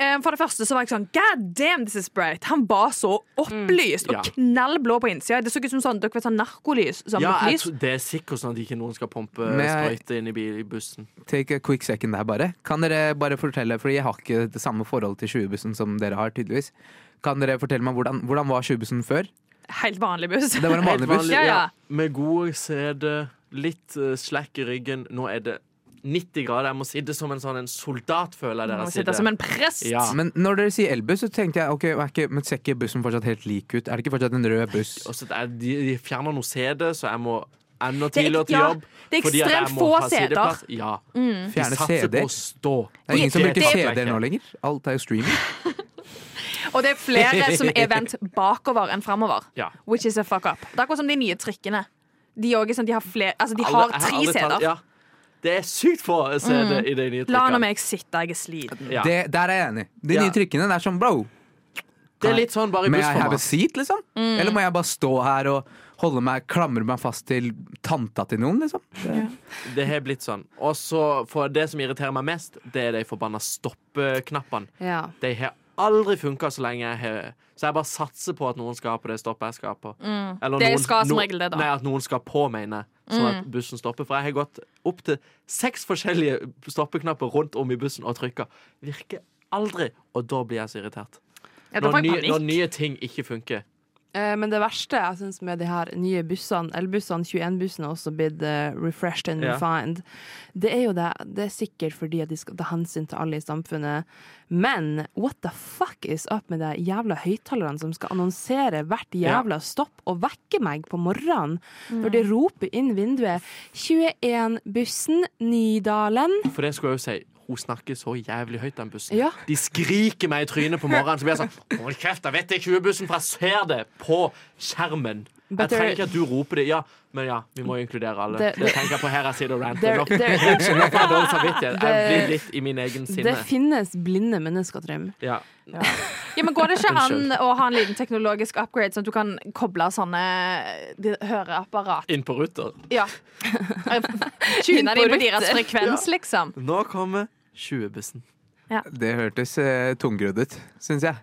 S4: Eh, For det første så var jeg sånn God damn, this is bright. Han var så opplyst
S5: Mm. Ja.
S4: og knallblå på innsida. Det så ut som sånn, dere vet sånn narkolys. Sånn
S5: Ja, jeg
S4: lys.
S5: tror, Det er sikkert sånn at ikke noen skal pumpe
S3: Men jeg-
S5: sprøyte inn i, bil, i bussen.
S3: Take a quick second der, bare. Kan dere bare fortelle, fordi jeg har ikke det samme forholdet til 20-bussen som dere har, tydeligvis. Kan dere fortelle meg hvordan, hvordan var 20-bussen før?
S4: Helt vanlig buss.
S3: Det var en
S5: Helt
S3: vanlig buss.
S5: vanlig,
S4: Ja, ja.
S5: Med god CD, litt eh, slack i ryggen. Nå er det 90 grader. Jeg må sitte som en sånn en soldat,
S4: Nå
S5: føler jeg. der jeg
S4: sitter jeg
S5: sitter.
S4: som en prest.
S5: Ja.
S3: Men når dere sier elbuss, så tenkte jeg ok, er ikke, men ser ikke bussen fortsatt helt lik ut? Er det ikke fortsatt en rød buss?
S5: Og så er- de, de fjerner noe CD, så jeg må enda
S4: er ek-
S5: tidligere til
S4: ja,
S5: jobb.
S4: det er
S5: fordi at jeg
S4: ekstremt
S5: må
S4: få Mm.
S5: ha sideplass. Ja.
S3: Fjerne
S5: De satser
S3: CD-er?
S5: på å stå.
S3: Det er ingen som
S5: Det-
S3: bruker
S5: det-
S3: CD-er nå lenger. Alt er jo streaming.
S4: Og det er flere som
S5: *laughs*
S4: er vendt bakover enn framover.
S5: Ja.
S4: Which is a fuck up. Det er akkurat som de nye trikkene. De, også er sånn, de har, flere, altså, de
S5: Alle-
S4: har
S5: jeg
S4: tre
S5: alle tar-
S4: CD-er.
S5: Ja. Det er sykt få CD i de nye
S4: La nå
S5: trykkene.
S4: meg sitte, jeg er sliten.
S5: Ja.
S3: Det, der er jeg enig. De
S5: Ja.
S3: nye trykkene, det er sånn bro.
S5: Det er litt sånn bare i
S3: May I have a
S5: bussformat.
S3: seat, liksom?
S5: Mm.
S3: Eller må jeg bare stå her og holde meg, klamre meg fast til tanta til noen, liksom?
S5: Det har blitt sånn. Og så for det som irriterer meg mest, det er de forbanna stoppeknappene.
S7: ja.
S5: De har aldri funka så lenge jeg har Så jeg bare satser på at noen skal på det stoppet jeg skal på. Eller
S4: Mm. Det skal som regel det, da. Mm.
S5: Nei, at noen skal på, mener jeg. Sånn at bussen stopper. For jeg har gått opp til seks forskjellige stoppeknapper rundt om i bussen og trykka. Virker aldri. Og da blir jeg så irritert.
S4: Ja, da får
S5: Når
S4: jeg
S5: nye, når
S4: panikk.
S5: nye ting ikke funker.
S7: Eh, Men det verste jeg synes med de her nye bussene, elbussene, 21-bussene er også blitt eh, refreshed and
S5: Ja.
S7: refined, det er jo det. Det er sikkert fordi at de skal ta hensyn til alle i samfunnet. Men what the fuck is up med de jævla høyttalerne som skal annonsere hvert jævla stopp og vekke meg på morgenen når de roper inn vinduet 21-bussen Nydalen.
S5: For det skulle jeg jo si. Hun snakker så jævlig høyt, den bussen.
S7: Ja.
S5: De skriker meg i trynet på morgenen. Så blir jeg sånn Hold kjeft, jeg vet det er 20-bussen, for jeg ser det på skjermen.
S7: But
S5: jeg trenger
S7: there-
S5: ikke at du roper det. Ja, men ja, vi må jo inkludere alle.
S7: Det-
S5: det tenker jeg på her jeg sitter og ranter.
S7: There,
S5: Nå-
S7: there,
S5: Unnskyld, nå får jeg dårlig samvittighet. Jeg
S7: Det-
S5: blir litt i min egen
S7: det
S5: sinne.
S7: finnes blinde mennesker, Trym.
S5: Ja.
S4: Ja, men går det ikke an
S5: Unnskyld.
S4: å ha en liten teknologisk upgrade, sånn at du kan koble sånne de, høreapparat
S5: Inn på ruter.
S4: Ja. Tune det inn på deres frekvens, liksom.
S5: Nå kommer 20-bussen.
S3: Det hørtes eh, tungrodd ut, syns jeg.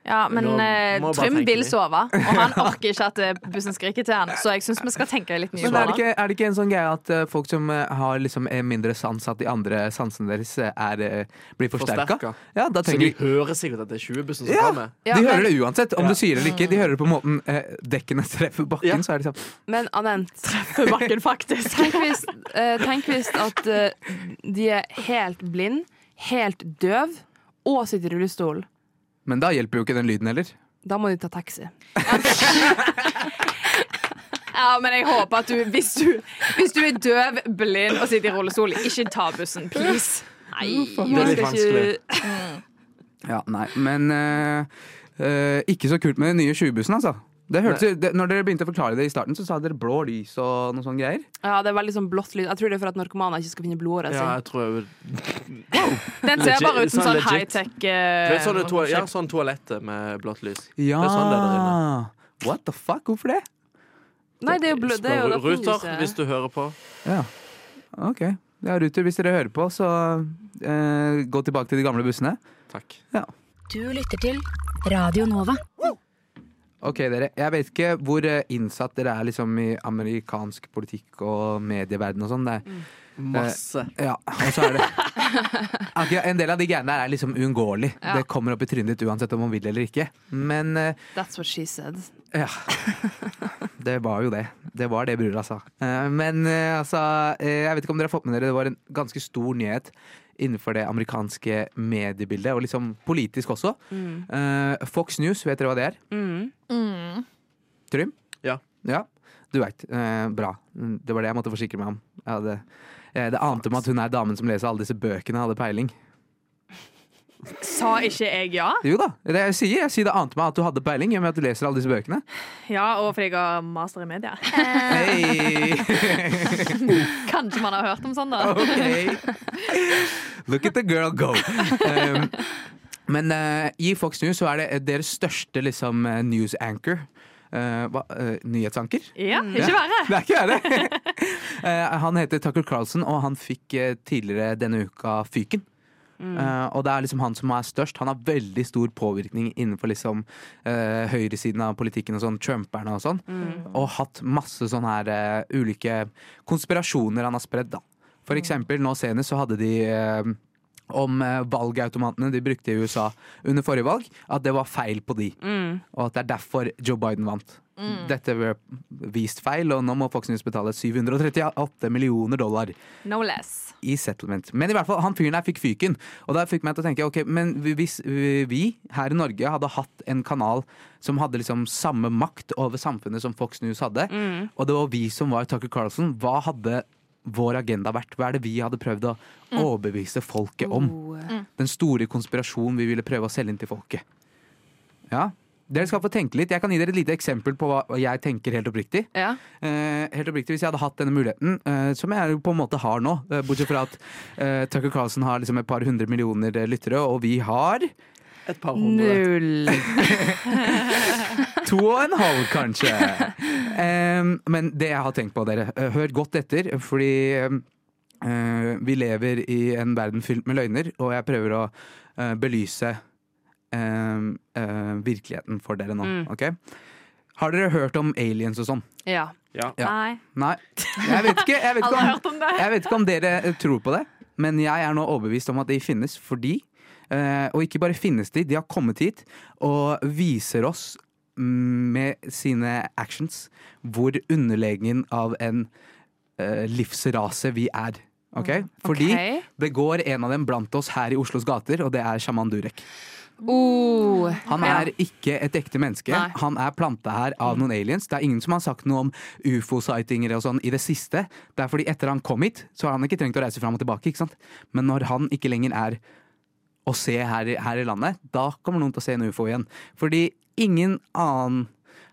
S4: Ja, men
S5: Nå
S4: eh,
S5: må jeg bare
S4: Trym
S5: tenke
S4: vil
S5: litt.
S4: sove, og han orker ikke at eh, bussen skriker til han, så jeg syns vi skal tenke litt nye
S3: Men er det,
S4: på det.
S3: ikke, er det ikke en sånn greie at eh, folk som eh, har liksom er mindre sans, at de andre sansene deres eh, er, eh, blir forsterka?
S5: Forsterka.
S3: Ja, da
S5: Så de
S3: trenger de
S5: hører sikkert at det er 20-bussen som
S3: ja,
S5: kommer.
S3: de
S7: Ja,
S3: hører
S7: men-
S3: det uansett, om
S5: Ja.
S3: du sier det eller ikke. De hører det på måten eh, dekkene treffer bakken.
S5: Ja.
S3: Så er det sånn
S7: Men Anent
S4: Treffer bakken, faktisk.
S7: Tenk hvis, eh, tenk hvis at eh, de er helt blind, helt døv og sitter i rullestol.
S3: Men da hjelper jo ikke den lyden heller.
S7: Da må de ta taxi.
S4: Ja, men jeg håper at du hvis, du, hvis du er døv, blind og sitter i rullestol, ikke ta bussen, please.
S7: mm,
S4: Nei.
S5: Det er litt vanskelig.
S3: Ja, nei, men eh, eh, ikke så kult med den nye 20-bussen, altså. Det hørtes, ut- det, når dere begynte å forklare det i starten, så sa dere blå lys og noe sånne greier.
S7: Ja, det er veldig sånn blått lyd. Jeg tror det er for at narkomane ikke skal finne blodåra
S5: Ja, jeg tror jeg
S7: Eh,
S4: Den ser bare ut som
S5: Sånn
S4: sånn
S5: legit.
S4: high-tech
S5: det er sånn, det toa-
S4: eh,
S5: ja, sånn toalettet med blått lys.
S3: Ja!
S5: Det er sånn det er der inne.
S3: What the fuck? Hvorfor det?
S7: Nei, det er jo blå, det er jo
S5: Spør Ruter, hvis
S7: narkomlyset.
S5: du hører på.
S3: Ja. OK. Ja, Ruter, hvis dere hører på, så eh, gå tilbake til de gamle bussene.
S5: Takk.
S6: Du lytter til Radio Nova.
S3: Ok, dere. Jeg vet ikke hvor eh, innsatt dere er liksom, i amerikansk politikk og medieverden og sånn. Det er-
S5: Masse.
S4: Eh,
S3: Ja, og så er det Akkurat En del av de greiene der er liksom uunngåelig.
S7: Ja.
S3: Det kommer opp i trynet ditt uansett om man vil eller ikke. Men eh,
S7: That's what she said.
S3: Ja. Det var jo det. Det var det brura sa. Eh, Men eh, altså, eh, jeg vet ikke om dere har fått med dere, det var en ganske stor nyhet innenfor det amerikanske mediebildet, og liksom politisk også. Eh, Fox News, vet dere hva det er?
S7: Mm.
S3: Trym?
S5: Ja.
S3: Ja, du veit. Eh, bra. Mm, Det var det jeg måtte forsikre meg om. Jeg hadde, eh, det ante meg at hun er damen som leser alle disse bøkene, hadde peiling.
S4: Sa ikke jeg ja?
S3: Jo da, det jeg sier, jeg sier det ante meg at du hadde peiling, i og med at du leser alle disse bøkene.
S4: Ja, og fordi jeg har master i media.
S3: Hey. *laughs*
S4: Kanskje man har hørt om sånn, da.
S3: Ok. Look at the girl go. Um, men eh, i Fox News så er det deres største liksom, eh, news anchor. Eh, hva, eh, nyhetsanker?
S4: Ja, ikke verre.
S3: Det *laughs* er ikke verre! Eh, han heter Tucker Carlson, og han fikk eh, tidligere denne uka fyken. Eh, og det er liksom han som er størst. Han har veldig stor påvirkning innenfor liksom, eh, høyresiden av politikken og sånn, Trumperne og sånn. Og hatt masse sånne her eh, ulike konspirasjoner han har spredd, da. For eksempel nå senest så hadde de eh, om eh, valgautomatene de brukte i USA under forrige valg, at det var feil på de. Og at det er derfor Joe Biden vant. Dette ble vist feil, og nå må Fox News betale 738 millioner dollar
S4: No less.
S3: i settlement. Men i hvert fall, han fyren der fikk fyken. Og det fikk meg til å tenke, ok, men hvis vi her i Norge hadde hatt en kanal som hadde liksom samme makt over samfunnet som Fox News hadde, og det var vi som var Tucker Carlson, hva hadde vår agenda vært? Hva er det vi hadde prøvd å overbevise folket om? Den store konspirasjonen vi ville prøve å selge inn til folket. Ja, dere skal få tenke litt. Jeg kan gi dere et lite eksempel på hva jeg tenker helt oppriktig.
S7: Ja.
S3: Eh, helt oppriktig, Hvis jeg hadde hatt denne muligheten, eh, som jeg jo på en måte har nå, eh, bortsett fra at eh, Tucker Carlson har liksom et par hundre millioner eh, lyttere, og vi har
S5: Et par hundre.
S3: to og en halv, kanskje. Em, men det jeg har tenkt på, dere, eh, hør godt etter, fordi em, eh, vi lever i en verden fylt med løgner, og jeg prøver å eh, belyse em, eh, virkeligheten for dere nå. ok? Har dere hørt om aliens og sånn?
S7: ja.
S3: Ja.
S4: Nei.
S3: Nei. Jeg vet ikke. Jeg vet
S4: Alle
S3: ikke
S4: har
S3: om,
S4: hørt om det.
S3: Jeg vet ikke om dere eh, tror på det, men jeg er nå overbevist om at de finnes fordi eh, Og ikke bare finnes de, de har kommet hit og viser oss mm, med sine actions hvor underlegen av en eh, livsrase vi er. Ok?
S4: Mm,
S3: Fordi
S7: Ok.
S3: det går en av dem blant oss her i Oslos gater, og det er sjaman Durek.
S7: Oh.
S3: Han er ikke et ekte menneske.
S7: Nei.
S3: Han er planta her av noen aliens. Det er ingen som har sagt noe om ufo-sightinger og sånn i det siste. Det er fordi etter han kom hit, så har han ikke trengt å reise fram og tilbake. ikke sant? Men når han ikke lenger er å se her, i- her i landet, da kommer noen til å se en ufo igjen. Fordi ingen annen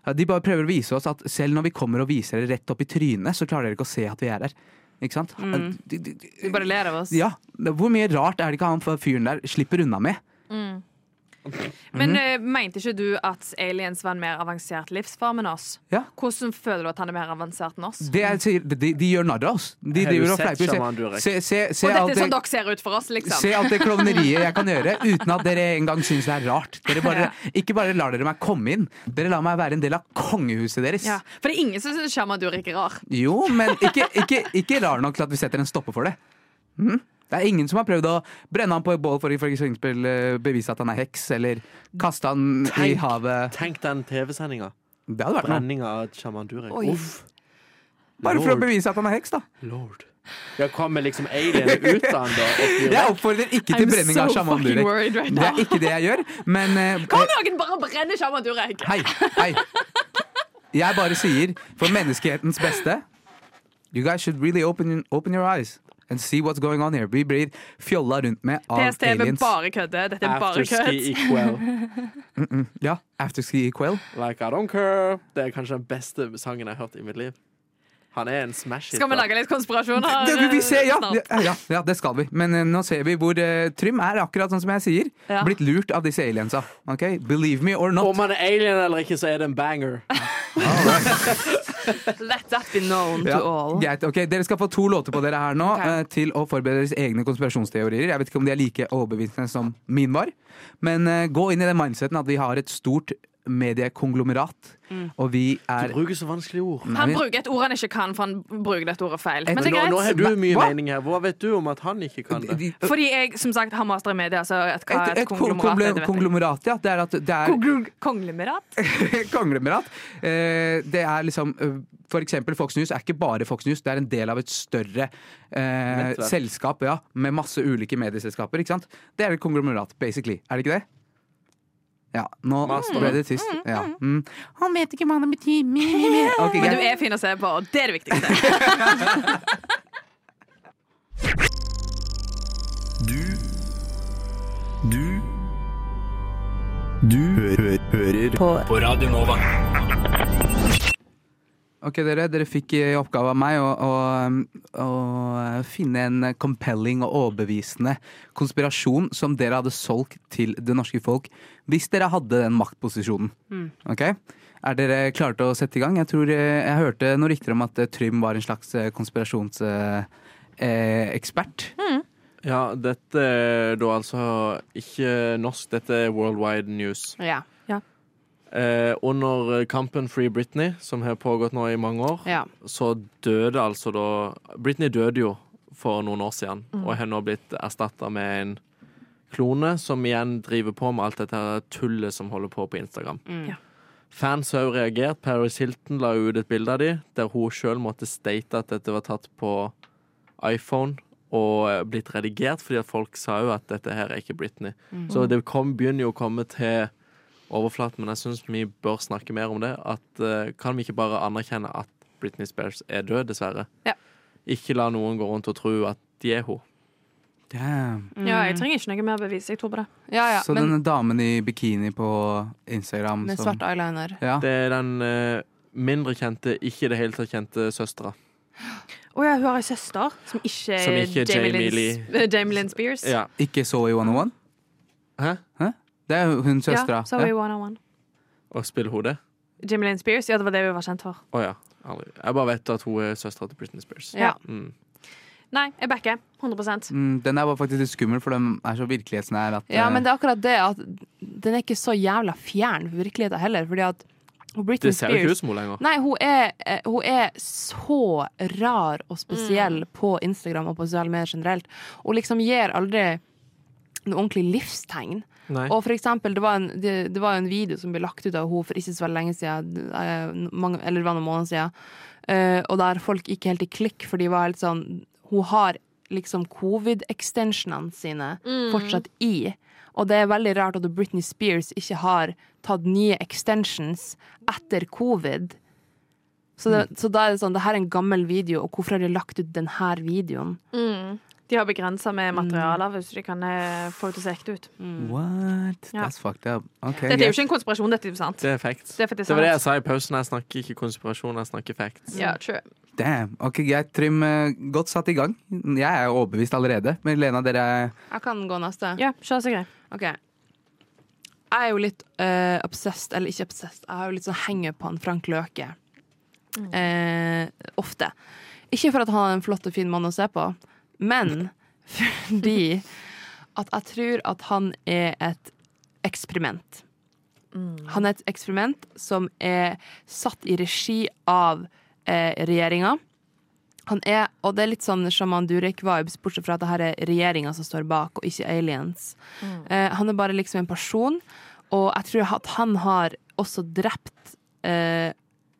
S3: ja, De bare prøver å vise oss at selv når vi kommer og viser dere rett opp i trynet, så klarer dere ikke å se at vi er her. Ikke sant? De- de- de-
S7: Du bare ler av oss.
S3: Ja. Hvor mye rart er det ikke han fyren der slipper unna med?
S4: Men
S3: Mhm.
S4: eh, mente ikke du at aliens var en mer avansert livsform enn oss?
S3: Ja.
S4: Hvordan føler du at han er mer avansert enn oss?
S3: Det jeg sier, de, de gjør narr av oss. De
S5: Har
S3: driver
S5: du
S3: og
S5: sett
S3: fleiper.
S5: Shaman Durek?
S3: Se, se, se, se,
S4: og dette
S3: alt
S4: er sånn
S3: det,
S4: dere ser ut for oss, liksom.
S3: se alt det klovneriet jeg kan
S4: *laughs*
S3: gjøre, uten at dere engang syns det er rart. Dere bare, ikke bare lar dere meg komme inn, dere lar meg være en del av kongehuset deres.
S4: Ja. For det er ingen som syns Shaman Durek er rar.
S3: Jo, men ikke, ikke, ikke rar nok til at vi setter en stopper for det. Mhm. Det er ingen som har prøvd å brenne han på et bål for for eksempel eh, bevise at han er heks, eller kaste han i
S5: Tenk.
S3: havet.
S5: Tenk den TV-sendinga.
S3: Det hadde vært noe.
S5: Brenninga av sjaman Durek.
S7: Oi.
S5: Uff.
S3: Bare for å
S5: Lord.
S3: bevise at han er heks, da.
S5: Lord. Ja, kommer liksom aliene ut av han da? og gjør-
S3: Jeg oppfordrer ikke til brenning av sjaman
S4: fucking
S3: Durek.
S4: worried right
S3: Det
S4: now.
S3: er ikke det jeg gjør, men eh,
S4: Kan noen bare brenne Shaman Durek?
S3: Hei, hei. Jeg bare sier, for menneskehetens beste You guys should really open, open your eyes and see what's going on here. Vi blir fjolla rundt med av
S4: PST vil
S3: aliens.
S4: bare kødde. Dette er bare kødd.
S5: Afterski equal.
S3: Ja, Afterski i kveld.
S5: Like I don't care. Det er kanskje den beste sangen jeg har hørt i mitt liv. Han er en smash hit.
S4: Skal vi
S5: da.
S4: lage litt konspirasjon her?
S3: Det vil vi se, ja,
S4: snart?
S3: ja, ja, ja, det skal vi. Men eh, nå ser vi hvor eh, Trym er, akkurat sånn som jeg sier.
S4: Ja.
S3: Blitt lurt av disse aliensa. Ok, Believe me or not.
S5: Om han er alien eller ikke, så er det en banger.
S7: Let that be known
S3: Ja,
S7: to all.
S3: greit. Ok, Dere skal få to låter på dere her nå
S7: Ok.
S3: eh, til å forberede deres egne konspirasjonsteorier. Jeg vet ikke om de er like overbevisende som min var, men eh, gå inn i den mindseten at vi har et stort mediekonglomerat,
S7: Mm.
S3: og vi
S5: Du
S3: er
S5: bruker så vanskelige ord.
S4: Han bruker et ord han ikke kan, for han bruker dette ordet feil.
S3: Et-
S4: Men det
S5: Men nå,
S4: er
S5: nå
S4: greit.
S5: har du mye
S3: Hva?
S5: mening her. Hva vet du om at han ikke kan det?
S3: Et,
S4: Fordi jeg som sagt har master i media, så et, hva er
S3: et,
S4: et konglomerat er,
S3: kongle-
S4: det vet jeg.
S3: konglomerat, ja. Det er at det er
S4: Kongl- Konglomerat?
S3: *laughs* konglomerat. Eh, det er liksom eh, For eksempel Fox News er ikke bare Fox News, det er en del av et større eh,
S5: Nettverk.
S3: selskap ja, med masse ulike medieselskaper. Ikke sant? Det er et konglomerat, basically. Er det ikke det? Ja, nå
S5: Mastodon.
S3: ble det tyst. Ja. Mm. Han vet ikke hva det betyr. Me, me, me. Ok,
S4: Men du
S3: greit.
S4: er fin å se på, og det er det viktigste.
S1: Du Du
S9: Du hø hø hører på. Radio Nova.
S3: Ok, dere, dere fikk i oppgave av meg å, å, å finne en compelling og overbevisende konspirasjon som dere hadde solgt til det norske folk hvis dere hadde den maktposisjonen.
S7: Mm.
S3: Ok? Er dere klare til å sette i gang? Jeg tror eh, jeg hørte noen rykter om at eh, eh, Trym var en slags konspirasjonsekspert.
S7: Mm.
S5: Ja, dette er da altså ikke norsk, dette er worldwide news.
S7: Ja.
S5: Eh, under kampen Free Britney, som har pågått nå i mange år,
S7: ja.
S5: så døde altså da Britney døde jo for noen år siden, og har nå blitt erstatta med en klone som igjen driver på med alt dette her tullet som holder på på Instagram.
S7: Mm.
S4: Ja.
S5: Fans har også reagert. Paris Hilton la ut et bilde av de, der hun sjøl måtte state at dette var tatt på iPhone og eh, blitt redigert, fordi at folk sa jo at dette her er ikke Britney. Så det kom, begynner jo å komme til overflaten, men jeg syns vi bør snakke mer om det. At eh, kan vi ikke bare anerkjenne at Britney Spears er død, dessverre?
S4: Ja.
S5: Ikke la noen gå rundt og tro at de er hun.
S3: Damn.
S4: Ja, jeg trenger ikke noe mer bevis. Jeg tror på det.
S7: ja, ja.
S3: Så
S7: Men
S3: denne damen i bikini på Instagram
S7: med
S3: som
S7: svart
S5: sånn.
S7: eyeliner.
S3: ja.
S5: Det er den eh, mindre kjente, ikke i det hele tatt kjente søstera.
S4: Å ja, hun har ei søster som ikke
S5: Som
S4: er
S5: ikke er
S4: Jamie,
S5: Jamie
S4: Lynn,
S5: Lee.
S4: eh, Jamie Lynn Spears.
S5: Ja.
S3: Ikke Zoe 101?
S5: Hæ?
S3: Det er jo hun søstera.
S4: Ja, så er hun 101.
S5: Og spiller hun det?
S4: Jamie Lynn Spears, ja, det var det hun var kjent for.
S5: Å ja. Aldri. Jeg bare vet at hun er søstera til Britney Spears.
S7: Ja.
S5: Mm.
S4: Nei, jeg backer. 100
S3: Mm, den der var faktisk litt skummel, for den er så virkelighetsnær at
S7: Ja,
S3: eh,
S7: men det er akkurat det at den er ikke så jævla fjern virkeligheten heller, fordi at Britney
S5: Det ser jo
S7: Spears
S5: ikke ut som hun lenger.
S7: Nei, hun er, eh, hun er så rar og spesiell på Instagram og på sosiale medier generelt. Hun liksom gir aldri noe ordentlig livstegn.
S5: Nei.
S7: Og for eksempel, det var, en, det, det var jo en video som ble lagt ut av henne for ikke så veldig lenge siden, eh, mange, eller det var noen måneder siden, eh, og der folk gikk helt i klikk, for de var helt sånn Hun har liksom covid-extensionene sine fortsatt i. Og det er veldig rart at Britney Spears ikke har tatt nye extensions etter covid. Så, det, så da er det sånn, det her er en gammel video, og hvorfor har de lagt ut denne videoen?
S5: Mm.
S4: De har begrensa med materialer, hvis de kan eh, få det til å se ekte ut.
S3: What?
S4: Ja.
S3: That's fucked up. Ok,
S4: Dette er jo
S3: greit.
S4: ikke en konspirasjon, dette er jo sant.
S5: Det er facts.
S4: Det er faktisk
S5: Det var det jeg
S4: sant.
S5: sa i pausen. Jeg snakker ikke konspirasjon, jeg snakker facts.
S4: Ja, true.
S3: Damn. Ok, greit. Trym, eh, godt satt i gang. Jeg er jo overbevist allerede. Men Lena, dere er
S7: Jeg kan gå neste.
S4: Ja, kjør så grei.
S7: Ok Jeg er jo litt eh, obsessed, eller ikke obsessed Jeg har jo litt sånn henger på han Frank Løke Eh, Ofte Ikke for at han er en flott og fin mann å se på Men fordi At jeg tror at han er et eksperiment Han er et eksperiment som er satt i regi av eh, regjeringen han er, og det er litt sånn Shaman Durek-vibes, bortsett fra at det her er regjeringa som står bak, og ikke aliens. Eh, han er bare liksom en person, og jeg tror at han har også drept eh,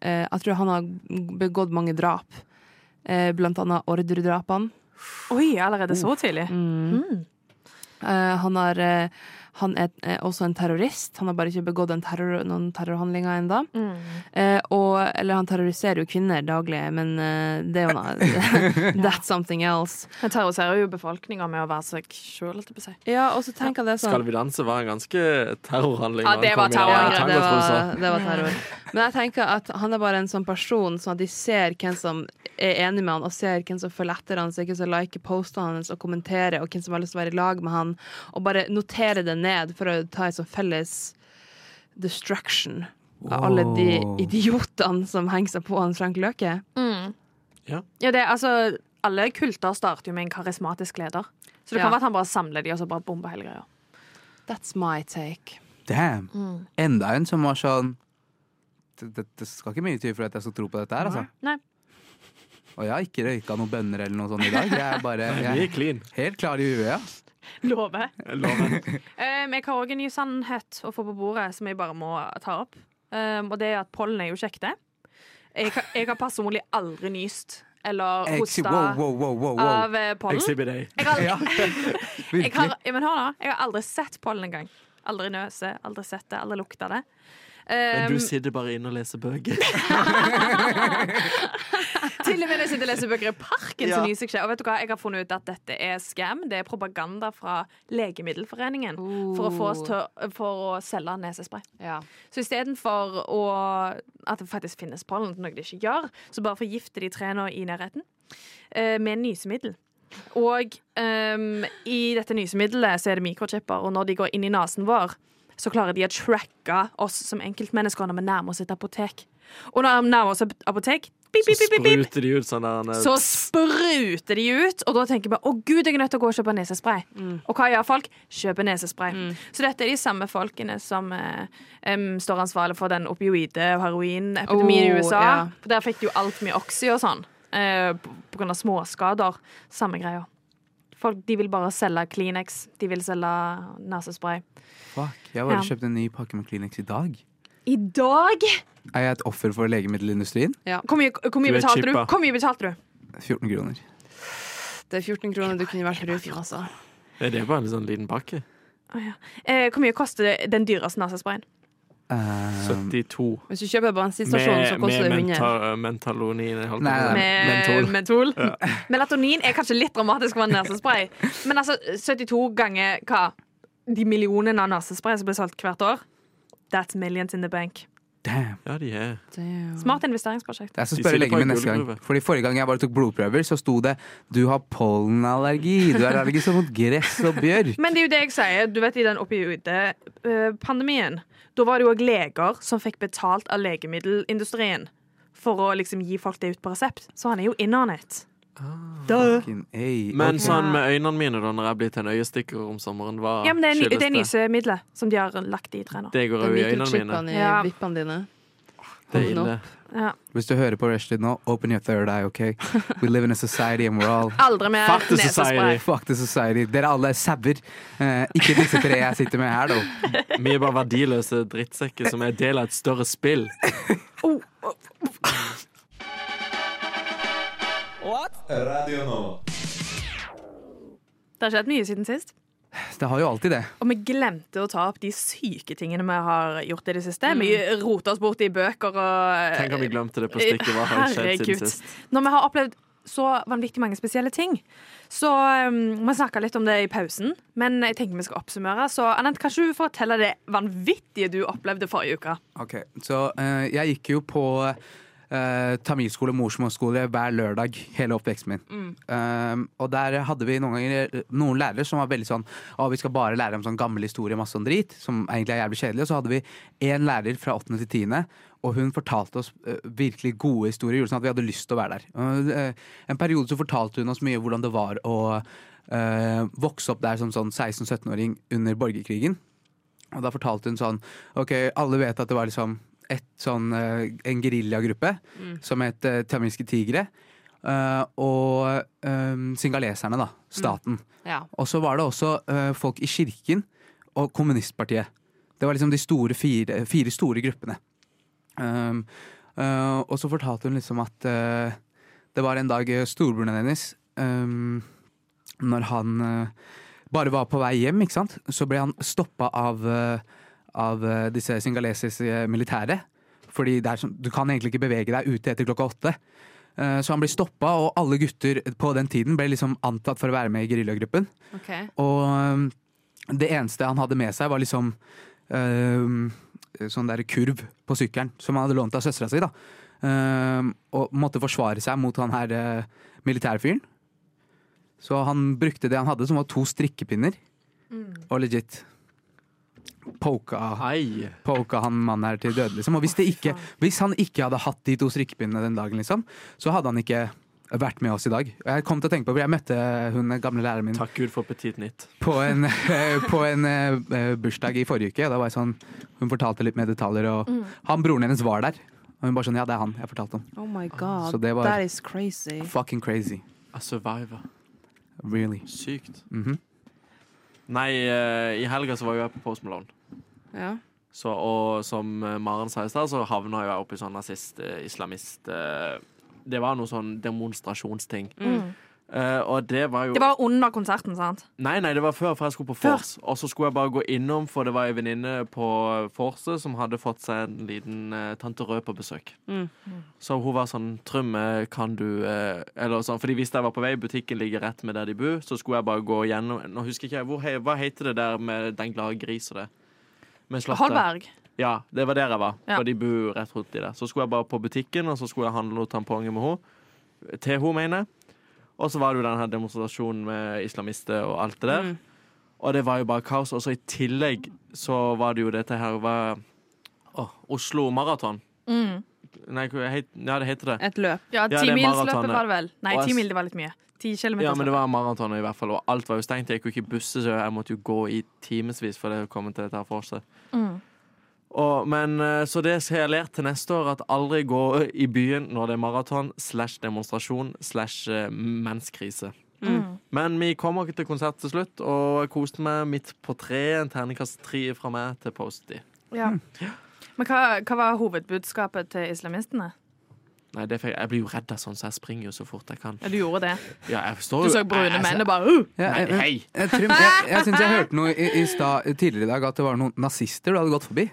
S7: eh, Jeg tror han har begått mange drap, eh, blant annet ordredrapene.
S4: Oi, allerede
S5: Oh.
S4: så tidlig.
S5: Mm.
S7: Eh, han, har, eh, han er eh, også en terrorist. Han har bare ikke begått en terror, noen terrorhandlinger ennå. Eh, og, eller han terroriserer jo kvinner daglig, men eh, det er jo noe *laughs* That's something else.
S4: Han terroriserer jo befolkninga med å være seg sjøl, holdt jeg på å si.
S7: Ja, og så tenker jeg det sånn
S5: Skal vi danse var en ganske terrorhandling.
S4: Ja,
S5: når
S4: det
S5: han
S4: var
S5: kom i den
S4: terror.
S7: Ja, det
S5: tangotrusser.
S7: var, det var terror. Men jeg tenker at han er bare en sånn person, sånn at de ser hvem som er enig med han, og ser hvem som følger etter han, ser hvem som liker postene hans og kommenterer, og hvem som har lyst til å være i lag med han, og bare noterer det ned for å ta en sånn felles destruction av alle de
S3: Wow.
S7: idiotene som henger seg på han Frank Løke.
S5: Ja.
S4: Ja, det, er- altså, alle kulter starter jo med en karismatisk leder. Så det
S7: Ja.
S4: kan være at han bare samler de og så bare bomber hele greia.
S7: That's my take.
S3: Damn. Enda en som var sånn det, det, det skal ikke mye til for at jeg skal tro på dette her, altså.
S4: Nei.
S3: Og jeg har ikke røyka noen bønner eller noe sånt i dag. Jeg er bare
S5: Vi
S3: jeg
S5: er clean.
S3: er helt klar i huet. Ja.
S4: Lover.
S5: Jeg lover.
S4: *laughs* Um, jeg har òg en ny sannhet å få på bordet som jeg bare må ta opp. Um, og det er at pollen er jo ikke ekte. Jeg, har- jeg har personlig aldri nyst eller
S3: Ex-
S4: hosta
S3: Wow, wow, wow, wow, wow.
S4: av eh, pollen.
S5: Exhibit A.
S4: Jeg har,
S3: *laughs* Ja,
S4: jeg har,
S3: virkelig.
S4: ja, men hør nå, jeg har aldri sett pollen engang. Aldri nøse, aldri sett det, aldri lukta det.
S5: Men
S4: Um,
S5: du sitter bare inne og leser bøker.
S4: Til og med når jeg sitter og leser bøker i parken, så
S5: Ja.
S4: nyser jeg ikke. Og vet du hva, jeg har funnet ut at dette er scam. Det er propaganda fra Legemiddelforeningen for å få oss til å- for å selge nesespray.
S7: Ja.
S4: Så istedenfor at det faktisk finnes pollen, noe det ikke gjør, så bare forgifter de trærne i nærheten eh, med nysemiddel. Og ehm, i dette nysemiddelet så er det mikrochipper, og når de går inn i nesen vår, så klarer de å tracke oss som enkeltmennesker når vi nærmer oss et apotek. Og når vi nærmer oss et apotek, bip,
S5: Så
S4: bip, bip, bip, bip,
S5: spruter de ut sånn der
S4: så spruter de ut, og da tenker vi å gud, jeg er nødt til å gå og kjøpe nesespray. Og hva gjør folk? Kjøper nesespray. Så dette er de samme folkene som eh, em, står ansvarlig for den opioide- og heroinepidemien
S7: Oh,
S4: i USA.
S7: ja.
S4: For der fikk de jo alt mye oxy og sånn, eh, på, på grunn av småskader. Samme greia. Folk, de vil bare selge Kleenex, de vil selge nesespray.
S3: Fuck, jeg bare
S4: Ja.
S3: kjøpte en ny pakke med Kleenex i dag.
S4: I dag
S3: Er jeg et offer for legemiddelindustrien?
S4: Hvor mye, hvor mye
S3: Du er
S4: betalte du?
S3: chippa.
S4: Hvor mye betalte du?
S3: 14 kroner.
S7: Det er 14 kroner du kunne vært brukt, altså.
S5: Er det bare en sånn liten pakke?
S4: Å, ja. eh, hvor mye koster den dyreste nesesprayen?
S3: Eh,
S5: 72.
S7: Hvis du kjøper på bensinstasjonen, så koster det 100.
S5: menta- mentalonin. jeg holdt
S3: Nei,
S5: på å si.
S4: Med mentol.
S5: Ja.
S4: Melatonin er kanskje litt dramatisk for en nesespray, men altså 72 ganger hva? De millionene av nesespray som blir solgt hvert år? That's millions in the bank.
S3: Damn.
S5: Ja, de er
S4: Smart investeringsprosjekt.
S3: Jeg skal spørre legen min neste gang. Fordi Forrige gang jeg bare tok blodprøver, så sto det 'du har pollenallergi'. Du er allergisk mot gress og bjørk.
S4: Men det er jo det jeg sier. Du vet, I den opioide-pandemien Da var det jo òg leger som fikk betalt av legemiddelindustrien for å liksom gi folk det ut på resept. Så han er jo innordnet.
S3: Fucking A.
S5: Men
S3: Ok.
S5: sånn med øynene mine da når jeg blir til en øyestikker om sommeren, hva
S4: Ja, men det er, ny-
S5: Ah, skyldes
S4: det er nysemiddelet som de har lagt i trærne.
S5: Det går jo i øynene mine.
S7: i
S4: Ja.
S7: vippene dine.
S5: Det er ille.
S4: Ja.
S3: Hvis du hører på Rushdie nå, open your third eye, OK? We live in a society and we're all
S4: Aldri mer
S3: Fuck the society.
S4: nesespray.
S3: Fuck the society. Dere alle er sauer. Eh, ikke disse tre jeg sitter med her, da.
S5: Vi er bare verdiløse drittsekker som er del av et større spill.
S1: Radio Nova.
S4: Det har skjedd mye siden sist.
S3: Det har jo alltid det.
S4: Og vi glemte å ta opp de syke tingene vi har gjort i det siste. Vi roter oss bort i bøker og
S5: Tenk om vi glemte det på stikket. Hva har skjedd
S4: Herregud.
S5: siden sist?
S4: Når vi har opplevd så vanvittig mange spesielle ting, så um, Vi snakka litt om det i pausen, men jeg tenker vi skal oppsummere. Så Anant, kan ikke du fortelle det vanvittige du opplevde forrige uke?
S3: Ok, så eh, jeg gikk jo på eh, tamilskole og morsmålsskole hver lørdag hele oppveksten min. Um, og der hadde vi noen ganger eh, noen lærere som var veldig sånn Å, vi skal bare lære om sånn gammel historie og masse sånn drit, som egentlig er jævlig kjedelig. Og så hadde vi én lærer fra åttende til tiende, og hun fortalte oss eh, virkelig gode historier. Gjorde sånn at vi hadde lyst til å være der. Og, eh, en periode så fortalte hun oss mye hvordan det var å eh, vokse opp der som sånn 16-17-åring under borgerkrigen. Og da fortalte hun sånn Ok, alle vet at det var liksom et sånn, eh, en geriljagruppe som het eh, tamilske tigre. eh, og eh, singaleserne, da. Staten.
S7: Ja.
S3: Og så var det også eh, folk i kirken og kommunistpartiet. Det var liksom de store fire, fire store gruppene. Um, eh, og så fortalte hun liksom at eh, det var en dag eh, storebroren hennes um, Når han eh, bare var på vei hjem, ikke sant? så ble han stoppa av, eh, av eh, disse singalesiske militære. Fordi det er sånn- du kan egentlig ikke bevege deg ute etter klokka åtte. Eh, Så han blir stoppa, og alle gutter på den tiden ble liksom antatt for å være med i geriljagruppen. Og um, det eneste han hadde med seg, var liksom um, sånn der kurv på sykkelen som han hadde lånt av søstera si. da. Um, og måtte forsvare seg mot han her uh, militærfyren. Så han brukte det han hadde, som var to strikkepinner, og legit poka, poka han mannen her til døde, liksom. Og hvis, det ikke, hvis han ikke hadde hatt de to strikkepinnene den dagen, liksom, så hadde han ikke vært med oss i dag. Og Jeg kom til å tenke på, for jeg møtte hun gamle læreren min
S5: Takk Gud for Petit Nytt.
S3: på en, *laughs* på en eh, bursdag i forrige uke. Og da var jeg sånn, hun fortalte litt mer detaljer, og
S7: Mm.
S3: han broren hennes var der. Og hun bare sånn Ja, det er han jeg fortalte om.
S7: Oh my god,
S3: Ah, Så det var-
S7: that is crazy.
S3: Fucking crazy.
S5: A survivor.
S3: Really.
S5: Sykt.
S3: Mhm.
S5: Nei, eh, i helga så var jo jeg på Post Malone.
S7: Ja.
S5: Så, og som eh, Maren sa i stad, så havna jo jeg oppi sånn nazist, eh, islamist eh, Det var noe sånn demonstrasjonsting.
S7: Mm.
S5: Eh, og det var jo
S4: Det var under konserten, sant?
S5: Nei, nei, det var før, for jeg skulle på vors. Og så skulle jeg bare gå innom, for det var ei venninne på vorset som hadde fått seg en liten eh, tante Rød på besøk.
S10: Mm.
S5: Så hun var sånn Trømme, kan du eh, Eller sånn, fordi hvis jeg var på vei, butikken ligger rett med der de bor, så skulle jeg bare gå gjennom Nå husker ikke jeg, hvor, he- Hva heter det der med den glade gris og det? Med slottet?
S4: Holberg.
S5: Ja, det var der jeg var.
S4: Ja.
S5: For de bor rett rundt i det. Så skulle jeg bare på butikken, og så skulle jeg handle noen tamponger med henne. Til henne, mener jeg. Og så var det jo den her demonstrasjonen med islamister og alt det
S7: Mm,
S5: der. Og det var jo bare kaos. Og så i tillegg så var det jo dette her var, Åh, Oslo Maraton.
S4: Mm.
S5: Nei, hva het- ja, det heter det.
S7: Et løp.
S4: Ja,
S5: det er
S4: timilsløpet
S5: maratonet.
S4: var det vel. Nei,
S5: Og jeg-
S4: timil det var litt mye. Ti kilometer.
S5: Ja, men det var maraton i hvert fall, og alt var jo stengt. Jeg gikk jo ikke i busser, så jeg måtte jo gå i timevis for det å komme til dette her vorset.
S4: Mm.
S5: Og, men, eh, så det har jeg lært til neste år, at aldri gå i byen når det er maraton slash demonstrasjon slash eh, menskrise.
S10: Mm.
S5: Men vi kom ikke til konsert til slutt, og jeg koste meg midt på treet. En terningkast tre fra meg til Posty.
S4: Ja. Men hva, hva var hovedbudskapet til islamistene?
S5: Nei, det fikk, jeg blir jo redd av sånn, så jeg springer jo så fort jeg kan.
S4: Ja, du gjorde det.
S5: Ja, jeg
S4: Du
S5: står jo
S4: så brune
S5: jeg-
S4: menn og bare uh!
S3: Ja,
S5: Nei,
S3: jeg- jeg-
S5: hei!
S3: Jeg, Trym, jeg,
S5: *laughs*
S3: jeg syns jeg hørte noe i, i sta, tidligere i dag at det var noen nazister du hadde gått forbi.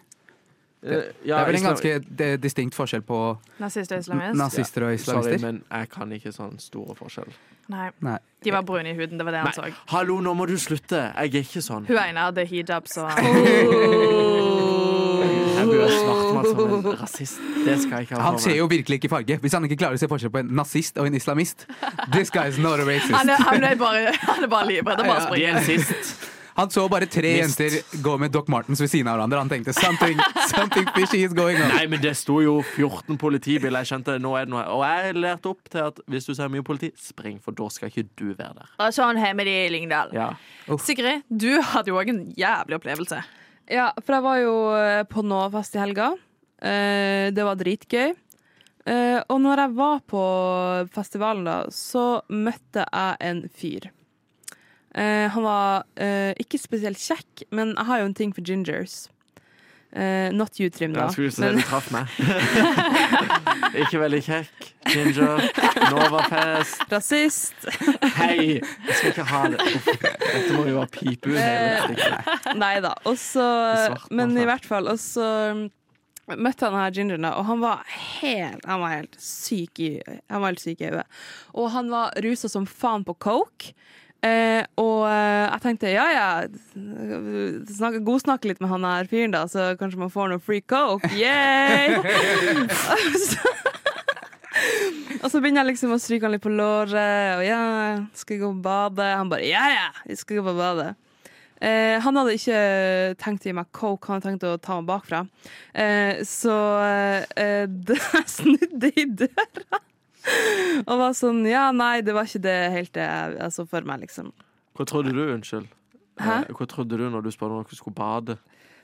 S3: Det, det
S5: ja,
S3: er vel en
S5: islam-
S3: ganske de- distinkt forskjell på
S4: Nazist og islamist.
S3: nazister og
S5: Sorry,
S3: islamister.
S5: men jeg kan ikke sånn store forskjell.
S4: Nei.
S3: Nei.
S4: De var brune i huden, det var det han så.
S5: Nei, hallo, nå må du slutte! Jeg er ikke sånn.
S4: Hun ene hadde Oh. hijab, så
S5: Jeg blir svartmalt som en rasist. Det skal jeg ikke ha
S3: Han
S5: for
S3: ser
S5: meg.
S3: jo virkelig ikke farge. Hvis han ikke klarer å se forskjell på en nazist og en islamist This guy is not a
S4: Han er,
S3: racist.
S4: han er bare, han er bare livredd og bare
S3: Ja.
S4: springer.
S3: Han så bare tre
S5: Mist.
S3: jenter gå med Doc Martens ved siden av hverandre. Han tenkte something, something fishy is going on.
S5: Nei, men det sto jo 14 politibiler. Jeg skjønte nå er det noe her. Og jeg er lært opp til at hvis du ser mye politi, spring, for da skal ikke du være der.
S4: Og sånn har vi det i Lyngdal.
S5: Ja.
S4: Sigrid, du hadde jo òg en jævlig opplevelse.
S7: Ja, for jeg var jo eh, på Novafest i helga. Eh, Det var dritgøy. Eh, Og når jeg var på festivalen, da, så møtte jeg en fyr. Eh, Han var eh, ikke spesielt kjekk, men jeg har jo en ting for gingers. Eh, Not you, Trym, da.
S5: Jeg skulle se
S7: men-
S5: du
S7: *laughs*
S5: traff meg. *laughs* Ikke veldig kjekk. Ginger. Novafest.
S7: Rasist.
S5: Hei! Jeg skal ikke ha det. Uff, dette må jo være pipe ut hele stykket.
S7: *laughs* Nei da. Og så Men i hvert fall. Og så um, møtte han her gingeren, da, og han var helt Han var helt syk i Han var helt syk i hodet. Og han var rusa som faen på coke. Eh, og eh, jeg tenkte ja ja, snak, godsnakke litt med han her fyren, da, så kanskje man får noe free coke. Yay! Og så- og så begynner jeg liksom å stryke han litt på låret, og ja, skal jeg gå på badet? Han bare ja ja, vi skal gå på badet. Eh, han hadde ikke tenkt å gi meg coke, han hadde tenkt å ta meg bakfra. Eh, så eh, *laughs* det, jeg snudde i døra og var sånn Ja, nei, det var ikke det helt det jeg jeg så for meg, liksom.
S5: Hva trodde du, unnskyld?
S7: Hæ?
S5: Eh, Hva trodde du når du spurte om dere skulle bade?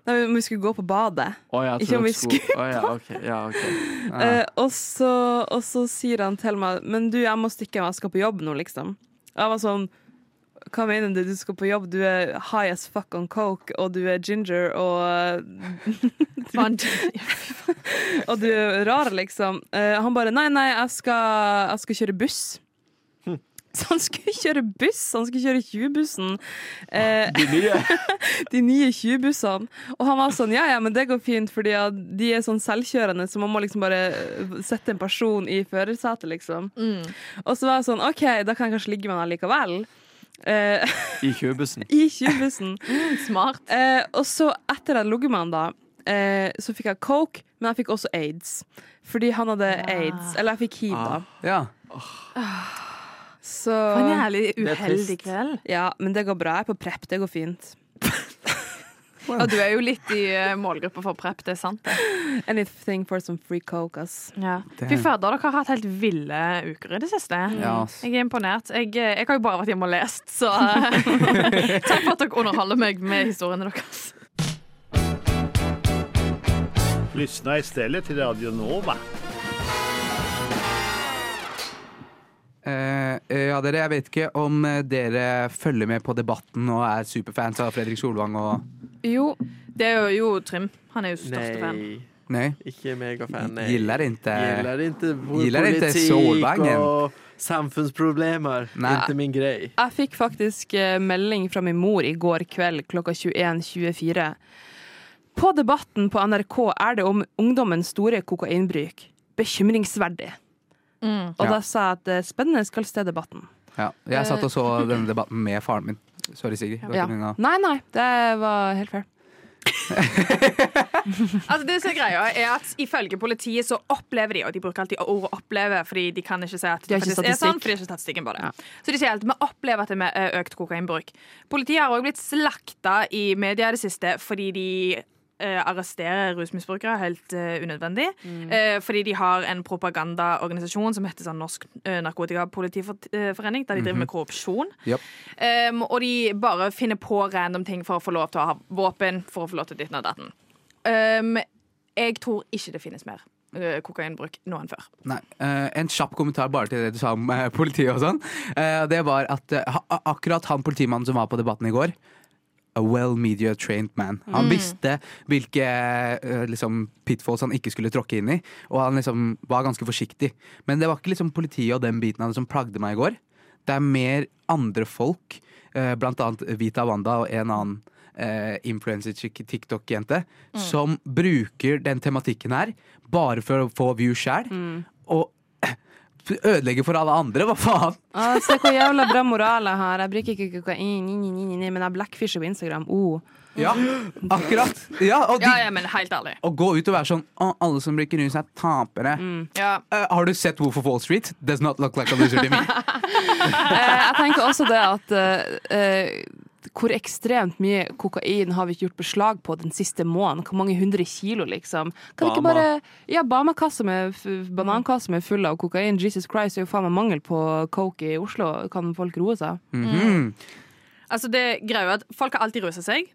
S7: Nei, men vi skulle gå på badet.
S5: Å, jeg
S7: ikke
S5: trodde
S7: om vi
S5: dere skulle-
S7: skulle
S5: Å, ja, ok, ja, ok. Ja.
S7: Eh, og, så, og så sier han til meg Men du, jeg må stikke, jeg skal på jobb nå, liksom. Og jeg var sånn Hva mener du? Du skal på jobb, du er high as fuck on coke, og du er ginger, og
S4: *laughs*
S7: Og du er rar, liksom. Eh, han bare Nei, nei, jeg skal, jeg skal kjøre buss. *laughs* Så han skulle kjøre buss! Han skulle kjøre 20-bussen. Eh,
S5: De nye.
S7: de nye 20-bussene. Og han var sånn, ja, ja, men det går fint, fordi at de er sånn selvkjørende, så man må liksom bare eh, sette en person i førersetet, liksom. Og så var jeg sånn, ok, da kan jeg kanskje ligge med han likevel. Eh, *laughs*
S5: I tjuvbussen.
S7: I 20-bussen. smart. Eh, og så etter jeg logget med han da, eh, så fikk jeg coke, men jeg fikk også aids. Fordi han hadde aids, eller jeg fikk hiv
S3: Ah.
S7: da.
S3: Ja.
S7: Så...
S4: For en jævlig
S7: Det er
S4: uheldig
S7: trist.
S4: kveld.
S7: Ja, men det går bra. Jeg er på prep, det går fint.
S4: Og du er jo litt i eh, målgruppa for prep, det er sant? det.
S7: Anything for some free coke, ass.
S4: Ja.
S7: Det-
S4: Fy fader, dere har hatt helt ville uker i det siste.
S7: Ja, ass.
S4: Jeg er imponert. Jeg, eh, jeg har jo bare vært hjemme og lest, så eh, takk for at dere underholder meg med historiene deres.
S1: Lyssna istället till Radio Nova.
S3: Eh, eh, ja, dere, jeg vet ikke om eh, dere følger med på debatten og er superfans av Fredrik Solvang og
S4: Jo. Det er jo, jo Trym. Han er jo største fan.
S3: Nei.
S5: Ikke megafan.
S3: Gillar inte-
S5: Gillar inte vår
S3: Gillar inte
S5: politik
S3: Solvangen.
S5: och Samfunnsproblemer. Inte min
S7: *laughs*
S5: grej.
S7: Jeg fikk faktisk eh, melding fra min mor i går kveld klokka 21.24. På debatten på NRK er det om ungdommens store kokainbruk. Bekymringsverdig. Og
S3: Ja.
S7: da sa jeg at eh, spennende skal se debatten.
S3: Ja. Jeg satt og så denne debatten med faren min. Sorry, Sigrid. Det var
S7: Ja.
S3: ikke meningen å-
S7: Nei, nei, det var helt fair.
S4: Altså, det som er greia er at Ifølge politiet så opplever de, og de bruker alltid ordet 'oppleve', fordi de kan ikke si at
S7: De
S4: det
S7: har ikke
S4: faktisk er sånn.
S7: statistikk.
S4: For de har ikke statistikken på det. Så de sier alltid vi opplever at det er eh, økt kokainbruk. Politiet har òg blitt slakta i media i det siste fordi de eh, arresterer rusmisbrukere helt eh, unødvendig.
S7: Mm.
S4: Eh, fordi de har en propagandaorganisasjon som heter sånn Norsk eh, Narkotikapolitiforening, der de driver
S11: Mhm.
S4: med korrupsjon.
S3: Japp.
S4: Um, og de bare finner på random ting for å få lov til å ha våpen, for å få lov til ditten og datten. Um, jeg tror ikke det finnes mer uh, kokainbruk nå enn før.
S3: Nei. eh, en kjapp kommentar bare til det du sa om eh, politiet og sånn. Eh, det var at eh, ha, akkurat han politimannen som var på debatten i går A well media trained man. Han
S12: Mm.
S3: visste hvilke eh, liksom, pitfalls han ikke skulle tråkke inn i, og han liksom var ganske forsiktig. Men det var ikke liksom politiet og den biten av det som plagde meg i går. Det er mer andre folk, eh, blant annet Vita Wanda og en annen eh, influencer-TikTok-jente, som bruker den tematikken her bare for å få view sjæl. Og *clears throat* ødelegge for alle andre, hva faen?
S7: Ah, se hvor jævla bra moral jeg har. Jeg bruker ikke kokain, ni, ni, ni, ni, ni, men jeg blackfisher på Instagram. Oh.
S3: Ja, akkurat. Ja, og de,
S4: Ja, ja, men helt ærlig.
S3: Å gå ut og være sånn «Å, Alle som bruker rus, er tapere. Eh, har du sett Wolf of Wall Street? Does not look like a loser to me.
S7: Eh, jeg tenker også det at eh, eh, hvor ekstremt mye kokain har vi ikke gjort beslag på den siste måneden? Hvor mange hundre kilo, liksom? Kan vi ikke
S13: Bama.
S7: bare Ja, Bama-kassa med f- banankasser med full av kokain. Jesus Christ, det er jo faen meg mangel på coke i Oslo. Kan folk roe seg?
S3: Mhm.
S4: Altså det greia er at Folk har alltid rusa seg.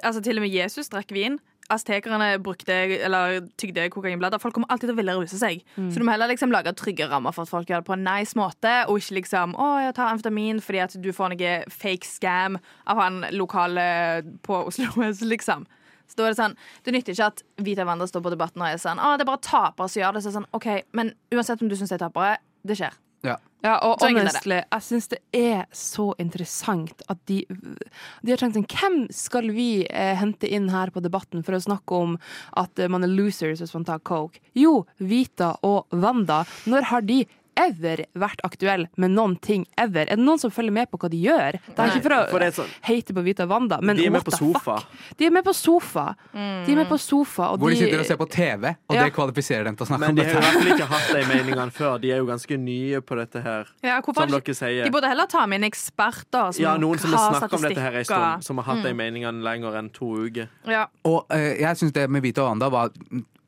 S4: Altså Til og med Jesus drakk vin. Aztekerne brukte eller tygde kokainblader. Folk kommer alltid til å ville ruse seg.
S11: Mm.
S4: Så du må heller liksom lage trygge rammer for at folk gjør det på en nice måte, og ikke liksom 'Å, jeg tar amfetamin fordi at du får noe fake scam av han lokale på Oslo *laughs* S', liksom. Så da er Det sånn, det nytter ikke at Vita Wander står på Debatten og er sånn 'Å, det er bare tapere som gjør det.' Så er det sånn, OK, men uansett om du syns det er tapere, det skjer.
S3: Ja.
S7: Ja, og
S4: Så enkelt er det.
S7: honestly, jeg syns det er så interessant at de, de har tenkt sånn Hvem skal vi eh, hente inn her på Debatten for å snakke om at eh, man er losers hvis man tar coke? Jo, Vita og Wanda. Når har de ever vært aktuelle med noen ting ever? Er det noen som følger med på hva de gjør? Det er
S5: Nei,
S7: ikke for å
S5: for det er sånn-
S7: hate på Vita og Wanda, men
S5: De er med
S7: what
S5: på
S7: the
S5: sofa. Mm.
S7: fuck? De er med på sofa. De er med på sofa, og
S3: Hvor de sitter og ser på TV, og
S7: Ja.
S3: det kvalifiserer dem til å snakke
S5: Men
S3: om
S5: de har jo i hvert fall
S3: dette.
S5: ikke hatt de meningene før. De er jo ganske nye på dette her.
S4: Ja, hvorfor
S5: som
S4: har de-
S5: dere sier.
S4: De burde heller ta med inn eksperter som
S5: ja, noen som har snakket om dette her en
S4: statistikker.
S5: stund, som har hatt de
S4: Mm.
S5: meningene lenger enn to uker.
S4: Ja.
S3: Og eh, jeg syns det med Vita og Wanda var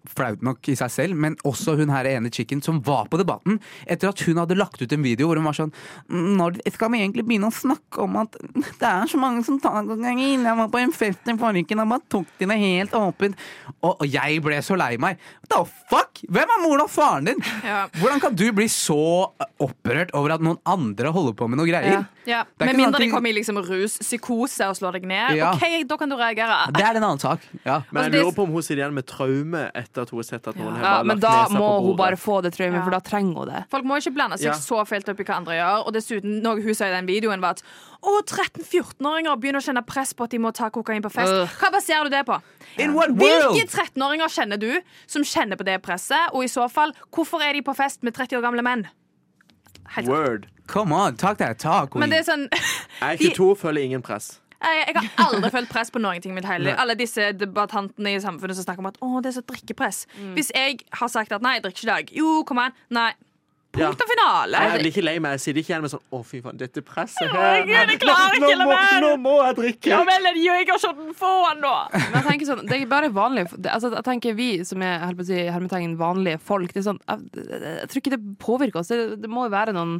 S3: flaut nok i seg selv, men også hun her ene chicken som var på Debatten, etter at hun hadde lagt ut en video hvor hun var sånn Når skal vi egentlig begynne å snakke om at det er så mange som tar kokain? Jeg var på en fest i forrige uke, da bare tok de det helt åpent. Og, og jeg ble så lei meg. What the fuck? Hvem er moren og faren din? Hvordan kan du bli så opprørt over at noen andre holder på med noe greier?
S4: Ja.
S3: Det er
S4: Med
S3: ikke sånn
S4: mindre
S3: at
S4: de
S3: de-
S4: kommer i liksom rus, psykose og slår deg ned.
S5: Ja.
S4: OK, da kan du reagere.
S3: Det er en annen sak. Ja.
S5: Men
S4: Altså,
S5: jeg
S4: det-
S5: lurer på om hun sitter igjen med traume etter at hun har sett at noen har
S7: Ja,
S5: bare
S7: men
S5: lagt
S7: da
S5: nesa på
S7: må hun
S5: bordet.
S7: bare få det traumet, for da trenger hun det.
S4: Folk må ikke blande seg
S5: Ja.
S4: så fælt opp i hva andre gjør. Og dessuten, noe hun sa i den videoen, var at å, 13-14-åringer begynner å kjenne press på at de må ta kokain på fest.
S11: Ugh.
S4: Hva baserer du det på?
S11: world?
S4: Hvilke 13-åringer kjenner du som kjenner på det presset? Og i så fall, hvorfor er de på fest med 30 år gamle menn? Helt
S5: Word.
S3: Come on, talk that talk.
S4: Men det er sånn *laughs*
S5: Jeg er 22, føler ingen press.
S4: Jeg, Eh, jeg har aldri følt press på noen ting i mitt hele liv.
S5: Nei.
S4: Alle disse debattantene i samfunnet som snakker om at å, det er så drikkepress. Hvis jeg har sagt at nei, jeg drikker ikke i dag. Jo, kom an. Nei.
S5: Ja.
S4: Punkt og finale.
S5: Jeg blir ikke lei meg. Jeg sitter ikke igjen med sånn Å, fy faen, dette presset her.
S4: Herregud, jeg klarer ikke
S5: nå,
S4: la
S5: må,
S4: være.
S5: nå må jeg drikke.
S4: Ja vel, er det jegerskjorten? Få han nå!
S7: Men jeg tenker sånn, det er bare vanlig det, altså, Jeg tenker vi som er holdt på å si, hermetegn vanlige folk det er sånn, jeg, jeg tror ikke det påvirker oss Det, det må jo være noen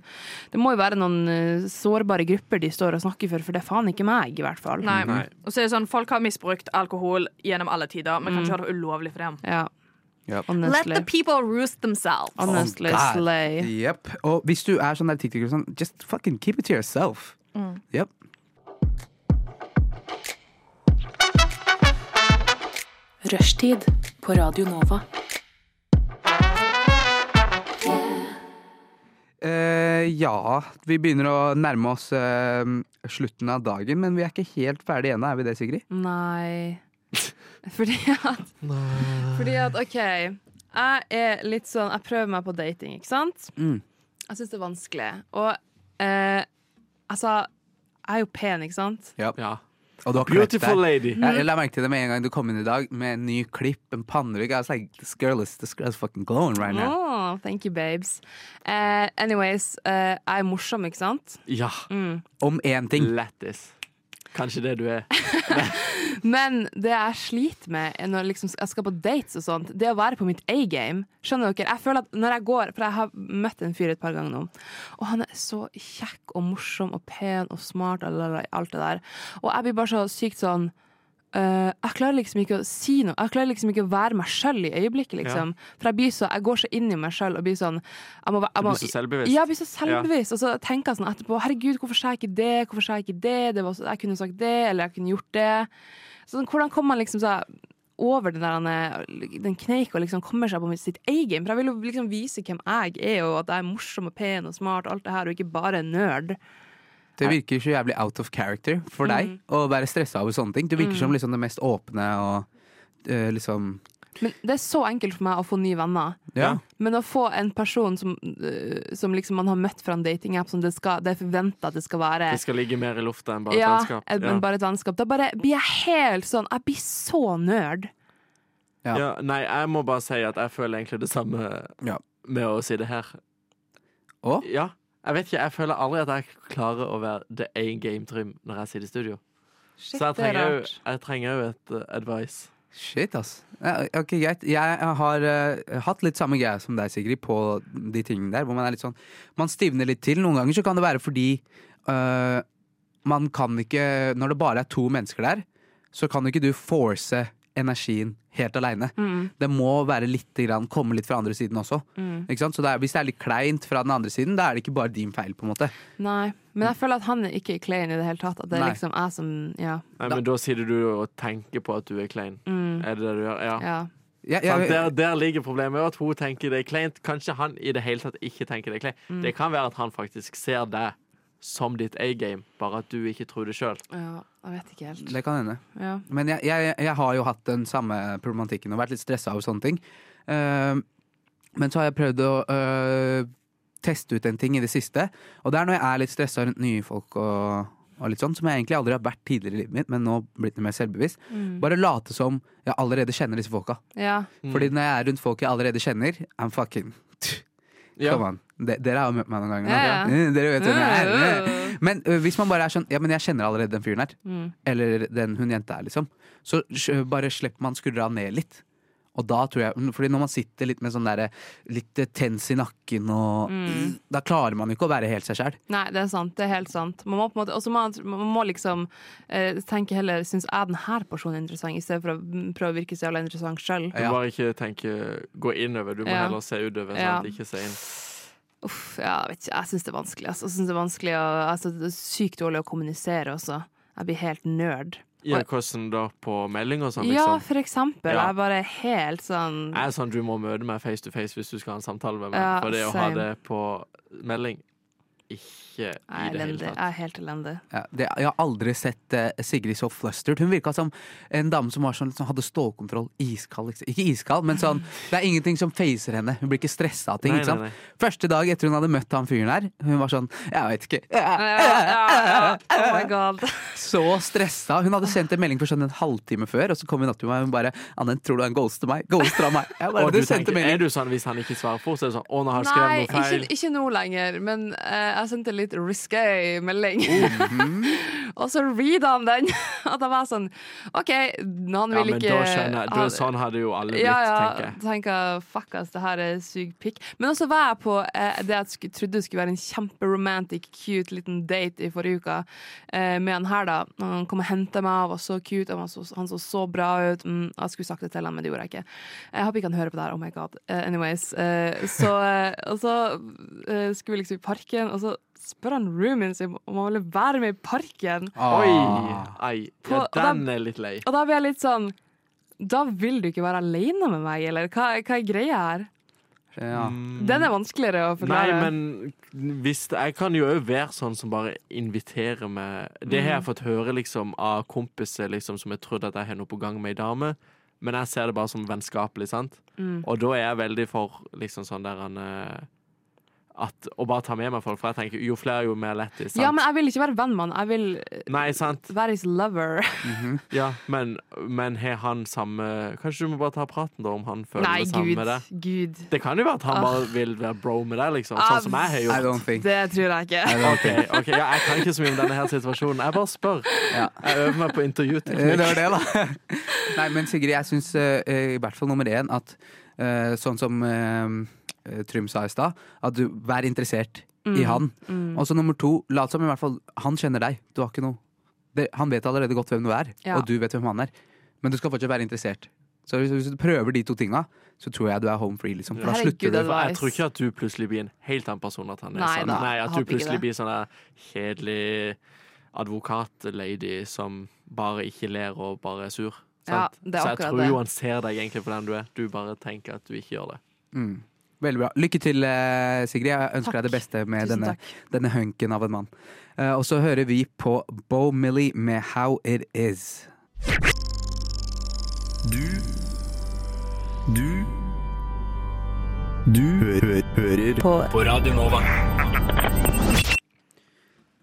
S7: Det må jo være noen eh, sårbare grupper de står og snakker for For det er faen ikke meg i hvert fall
S4: Nei. Og så er det sånn, Folk har misbrukt alkohol gjennom alle tider, men kan
S7: Mm.
S4: ikke gjøre det ulovlig for dem.
S7: Ja,
S4: Let
S7: honestly
S4: the people roose themselves.
S7: Honestly,
S3: Oh, God.
S7: slay.
S3: Yep. Og hvis du er sånn der tiktoker, sånn, just fucking keep it to yourself.
S4: Mm.
S3: Yep.
S6: Rushtid på Radio Nova.
S3: Eh, ja, vi begynner å nærme oss eh, slutten av dagen, men vi er ikke helt ferdig ennå, er vi det, Sigrid?
S7: *laughs*
S14: Nei. Fordi at
S7: Fordi at, OK, jeg er litt sånn Jeg prøver meg på dating, ikke sant?
S3: Mm.
S7: Jeg syns det er vanskelig. Og eh, altså Jeg er jo pen, ikke sant?
S3: Ja. Og du har
S5: Beautiful
S3: klippet deg.
S5: lady.
S3: Jeg, jeg la merke til det med en gang du kom inn i dag med en ny klipp, en pannerygg. I was like, this girl is, this girl is fucking glowing right now.
S7: Oh, thank you, babes. Eh, anyways, eh, jeg er morsom, ikke sant?
S5: Ja.
S7: Mm.
S3: Om én ting.
S5: Lættis. Kanskje det du
S7: Eh.
S5: er.
S7: Men det jeg sliter med er når liksom jeg skal på dates og sånt, det å være på mitt A-game. Skjønner dere? Jeg føler at når jeg går, For jeg har møtt en fyr et par ganger nå, og han er så kjekk og morsom og pen og smart og lalala, alt det der. Og jeg blir bare så sykt sånn øh, jeg klarer liksom ikke å si noe. Jeg klarer liksom ikke å være meg sjøl i øyeblikket, liksom. For jeg, blir så, jeg går så inn i meg sjøl og blir sånn jeg må, væ- jeg
S5: Du
S7: må,
S5: blir så selvbevisst.
S7: Ja, jeg blir så selvbevisst. Og så tenker jeg sånn etterpå Herregud, hvorfor sa jeg ikke det? Hvorfor sa jeg ikke det? det var så, jeg kunne sagt det, eller jeg kunne gjort det. Sånn, hvordan kommer man liksom så over den, der, den kneik og liksom kommer seg på sitt eget game? For jeg vil jo liksom vise hvem jeg er, og at jeg er morsom og pen og smart og alt det her, og ikke bare en nerd.
S3: Det virker så jævlig out of character for deg å være stressa over sånne ting. Du virker
S7: Mm.
S3: som liksom det mest åpne og eh, liksom
S7: Men det er så enkelt for meg å få nye venner.
S3: Ja.
S7: Men å få en person som, øh, som liksom man har møtt fra en datingapp, som det, skal, det er forventa at det skal være
S5: Det skal ligge mer i lufta enn bare
S7: ja,
S5: et vennskap.
S7: et- men bare et vennskap. Da bare blir jeg helt sånn Jeg blir så nerd.
S5: Ja. nei, jeg må bare si at jeg føler egentlig det samme med å si det her.
S3: Å?
S5: Ja. Jeg vet ikke, jeg føler aldri at jeg klarer å være the A game trim når jeg sitter i studio.
S7: Shit,
S5: Så jeg
S7: det er
S5: trenger jo-
S7: rart.
S5: jeg trenger jo et eh, advice.
S3: Shit, ass. Ja, ok, greit. Jeg har eh, hatt litt samme greia som deg, Sigrid, på de tingene der. Hvor man er litt sånn Man stivner litt til. Noen ganger så kan det være fordi eh, man kan ikke Når det bare er to mennesker der, så kan ikke du force energien helt aleine.
S15: Mm.
S3: Det må være litt grann, komme litt fra andre siden også.
S7: Mm.
S3: Ikke sant? Så det er, hvis det er litt kleint fra den andre siden, da er det ikke bare din feil, på en måte.
S7: Nei. Men jeg føler at han er ikke klein i det hele tatt. At det er
S3: Nei.
S7: liksom jeg som Ja.
S5: Nei, men da sitter du og tenker på at du er klein.
S7: Mm.
S5: Er det det du gjør? Ja.
S7: Ja.
S3: Ja, ja,
S5: Sant?
S3: ja.
S5: Der, der ligger problemet, at hun tenker det er kleint. Kanskje han i det hele tatt ikke tenker det er kleint.
S7: Mm.
S5: Det kan være at han faktisk ser deg som ditt A-game, bare at du ikke tror det sjøl.
S7: ja. Jeg vet ikke helt.
S3: Det kan hende.
S7: Ja.
S3: Men jeg, jeg, jeg har jo hatt den samme problematikken og vært litt stressa over sånne ting. Ehm, men så har jeg prøvd å øh, teste ut en ting i det siste. Og det er når jeg er litt stressa rundt nye folk og, og litt sånn, som jeg egentlig aldri har vært tidligere i livet mitt, men nå blitt mer selvbevisst.
S7: Mm.
S3: Bare late som jeg allerede kjenner disse folka.
S7: Ja.
S5: Mm.
S3: Fordi når jeg er rundt folk jeg allerede kjenner, I'm fucking
S5: Ja.
S3: Come on. De, dere har jo møtt meg noen ganger. nå.
S5: Ja, ja.
S3: Dere vet hvem jeg er.
S5: Ja.
S3: Men øh, hvis man bare er sånn Ja, men jeg kjenner allerede den fyren her.
S7: Mm.
S3: Eller den hun jenta er, liksom. Så sj- bare slipper man skuldra ned litt. Og da tror jeg mm, Fordi når man sitter litt med sånn derre litt eh, tens i nakken og
S7: Mm.
S3: Da klarer man jo ikke å være helt seg sjæl.
S7: Nei, det er sant. Det er helt sant. Man må, på en måte, også man, man må liksom eh, tenke heller Syns jeg denne personen er interessant, i stedet for å mm, prøve å virke så jævla interessant sjøl.
S5: Du bare ikke tenker gå innover, du må
S7: Ja.
S5: heller se utover. Sånn
S7: Ja.
S5: at det ikke ser inn.
S7: Uff, ja, jeg vet ikke. Jeg syns det er vanskelig. Altså. Jeg synes det er vanskelig å, altså, det er sykt dårlig å kommunisere også. Jeg blir helt nerd.
S5: Ja, hvordan da? På melding og sånn,
S7: Ja,
S5: liksom?
S7: for eksempel.
S5: Ja.
S7: Jeg er bare helt sånn
S5: Jeg er sånn du må møte meg face to face hvis du skal ha en samtale med meg.
S7: Ja,
S5: for det å ha
S7: same.
S5: det på melding Ikke i
S7: Jeg er
S5: det hele
S7: elendig.
S5: tatt.
S7: Jeg er helt elendig.
S3: Ja, det, jeg har aldri sett eh, Sigrid så flustered. Hun virka som en dame som var sånn, som hadde stålkontroll. Iskald. Ikke, ikke iskald, men
S5: *laughs*
S3: sånn Det er ingenting som facer henne. Hun blir ikke stressa av ting.
S5: Nei,
S3: ikke sant?
S5: nei, nei.
S3: Første dag etter hun hadde møtt han fyren her, hun var sånn Jeg vet ikke.
S7: Oh my god.
S3: Så stressa. Hun hadde sendt en melding for sånn en halvtime før, og så kom hun opp til meg og hun bare 'Anne, tror du han ghoster meg?' Ghoster han meg? Jeg bare,
S5: Og du
S3: du sendte
S5: tenker,
S3: melding.
S5: er du sånn hvis han ikke svarer fort, så er det sånn Å, nå har jeg
S7: Nei,
S5: skrevet noe feil.
S7: ikke, ikke nå lenger, men eh, jeg sendte litt risky melding.
S5: Oh, mhm.
S7: *laughs* og så reada han den, *laughs* og da var jeg sånn OK, han
S5: ja,
S7: vil
S5: men
S7: ikke
S5: da skjønner jeg. Da,
S7: han-
S5: sånn hadde jo alle blitt,
S7: ja, ja,
S5: tenker jeg.
S7: tenker fuck ass, det her er sug pikk. Men også var jeg på eh, det jeg sku, trodde skulle være en kjemperomantic, cute liten date i forrige uke eh, med han her, da. Og Han kom og henta meg, og var så cute, og han så, han så så bra ut. Mm, jeg skulle sagt det til han, men det gjorde jeg ikke. Jeg håper ikke han hører på det her, oh my god. Eh, anyways. Eh, så, eh, og så eh, skulle vi liksom i parken, og så spør han roomien sin om han ville være med i parken.
S3: Ah,
S5: Oi! Ei. Ja,
S7: På- og da-
S5: den er litt lei.
S7: Og da blir jeg litt sånn Da vil du ikke være alene med meg, eller hva, hva er greia her?
S3: Ja.
S7: Den er vanskeligere
S5: Nei,
S7: å forklare.
S5: men hvis det, jeg kan jo òg være sånn som bare inviterer meg Det har
S7: Mm.
S5: jeg fått høre liksom av kompiser liksom, som jeg trodde at jeg har noe på gang med ei dame, men jeg ser det bare som vennskapelig, sant?
S16: Mm.
S5: Og da er jeg veldig for liksom sånn der han eh, at, Å bare ta med meg folk, for jeg tenker jo flere, jo mer lettis. sant?
S7: ja, men jeg vil ikke være venn med han. Jeg vil eh,
S5: Nei, sant?
S7: være his lover.
S5: Ja, men, men har han samme Kanskje du må bare ta praten da om han føler
S7: Nei,
S5: det samme
S7: Gud,
S5: med deg?
S7: Gud.
S5: Det kan jo være at han
S7: Ah.
S5: bare vil være bro med deg, liksom. Sånn som jeg har gjort.
S7: I don't think. Det tror jeg ikke. I don't
S5: Ok,
S7: think.
S5: ok, ja, Jeg kan ikke så mye om denne her situasjonen. Jeg bare spør. Jeg øver meg på intervjuteknikk.
S3: Eh, Det var det, da. *laughs* Nei, men Sigrid, jeg syns eh, i hvert fall nummer én at eh, sånn som eh, Trym sa i stad, at du vær interessert
S17: Mm,
S3: i han.
S17: mm.
S3: Og så nummer to, lat som i hvert fall han kjenner deg. Du har ikke noe det, Han vet allerede godt hvem du er,
S17: Ja.
S3: og du vet hvem han er. Men du skal fortsatt være interessert. Så hvis, hvis du prøver de to tinga, så tror jeg du er home free, liksom. For da slutter du.
S5: For jeg tror ikke at du plutselig blir en helt annen person. At han er
S3: Nei
S5: sånn.
S3: da,
S5: Nei,
S3: jeg
S5: at
S3: håper
S5: du
S3: ikke
S5: plutselig
S3: det.
S5: blir sånn der kjedelig advokatlady som bare ikke ler og bare er sur.
S7: Ja,
S5: sant?
S7: det er
S5: Så jeg
S7: akkurat
S5: tror
S7: det.
S5: jo han ser deg egentlig for den du er. Du bare tenker at du ikke gjør det.
S3: Mm. Veldig bra. Lykke til, eh, Sigrid. Jeg ønsker deg det beste med
S5: Tusen
S3: denne,
S5: takk.
S3: denne hunken av en mann. Eh, og så hører vi på Bo Millie med 'How It Is'.
S9: Du Du Du hø hø hører på, på Radio Nova.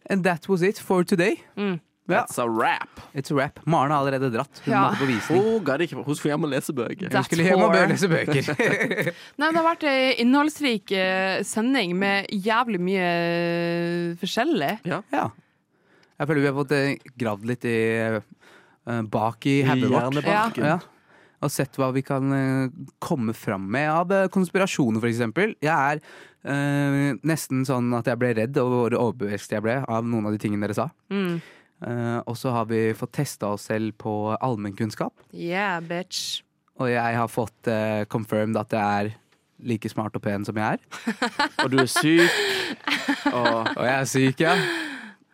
S3: And that was it for today. Ja.
S5: That's a wrap.
S3: It's a wrap. Maren har allerede dratt. Hun
S7: Ja.
S3: måtte på visning.
S5: Hun gadd ikke. Hun skulle hjem og lese bøker.
S3: Hun skulle hjem og lese
S5: *laughs*
S3: bøker.
S7: Nei, det har vært ei innholdsrik eh, sending med jævlig mye eh, forskjellig.
S3: Ja. Jeg føler vi har fått eh, gravd litt i, eh, bak i
S5: I
S3: hodet vårt.
S5: hjernebarken.
S3: Ja. Ja. Og sett hva vi kan eh, komme fram med av eh, konspirasjoner, f.eks. Jeg er eh, nesten sånn at jeg ble redd over hvor overbevist jeg ble av noen av de tingene dere sa.
S7: Mm.
S3: Eh, og så har vi fått testa oss selv på allmennkunnskap.
S7: Yeah, bitch.
S3: Og jeg har fått eh, confirmed at jeg er like smart og pen som jeg er.
S5: Og du er syk.
S3: Og, jeg er syk, ja. *laughs*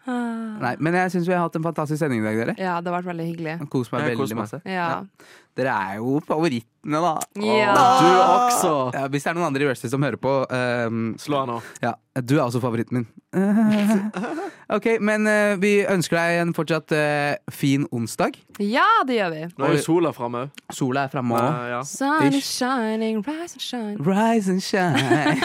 S3: Nei, men jeg syns vi har hatt en fantastisk sending i dag, dere.
S7: Ja, det har vært veldig hyggelig.
S3: Jeg koser meg
S7: Jeg koser
S3: veldig
S7: meg.
S3: masse.
S7: Ja.
S3: Dere er jo favorittene, da.
S7: Ja.
S5: Du også.
S3: Ja, hvis det er noen andre i Rushdie som hører på ehm,
S5: Slå han av.
S3: Ja, du er også favoritten min. *laughs* ok, men eh, vi ønsker deg en fortsatt eh, fin onsdag.
S7: Ja, det gjør vi.
S5: Nå er jo sola framme Eh, òg.
S3: Sola er framme òg.
S7: Sun is shining, rise and shine.
S3: Rise and shine.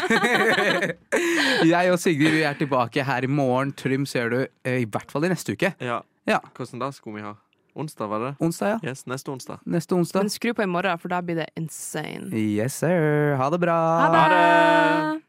S3: *laughs* Jeg og Sigrid vi er tilbake her i morgen. Trym ser du eh, i hvert fall i neste uke.
S5: Ja.
S3: Ja.
S5: Hvordan da skulle vi ha? Onsdag, var det?
S3: Onsdag, ja.
S5: Yes, neste onsdag.
S3: Neste onsdag.
S7: Men skru på i morgen, for da blir det insane.
S3: Yes, sir. Ha det bra.
S7: Ha det!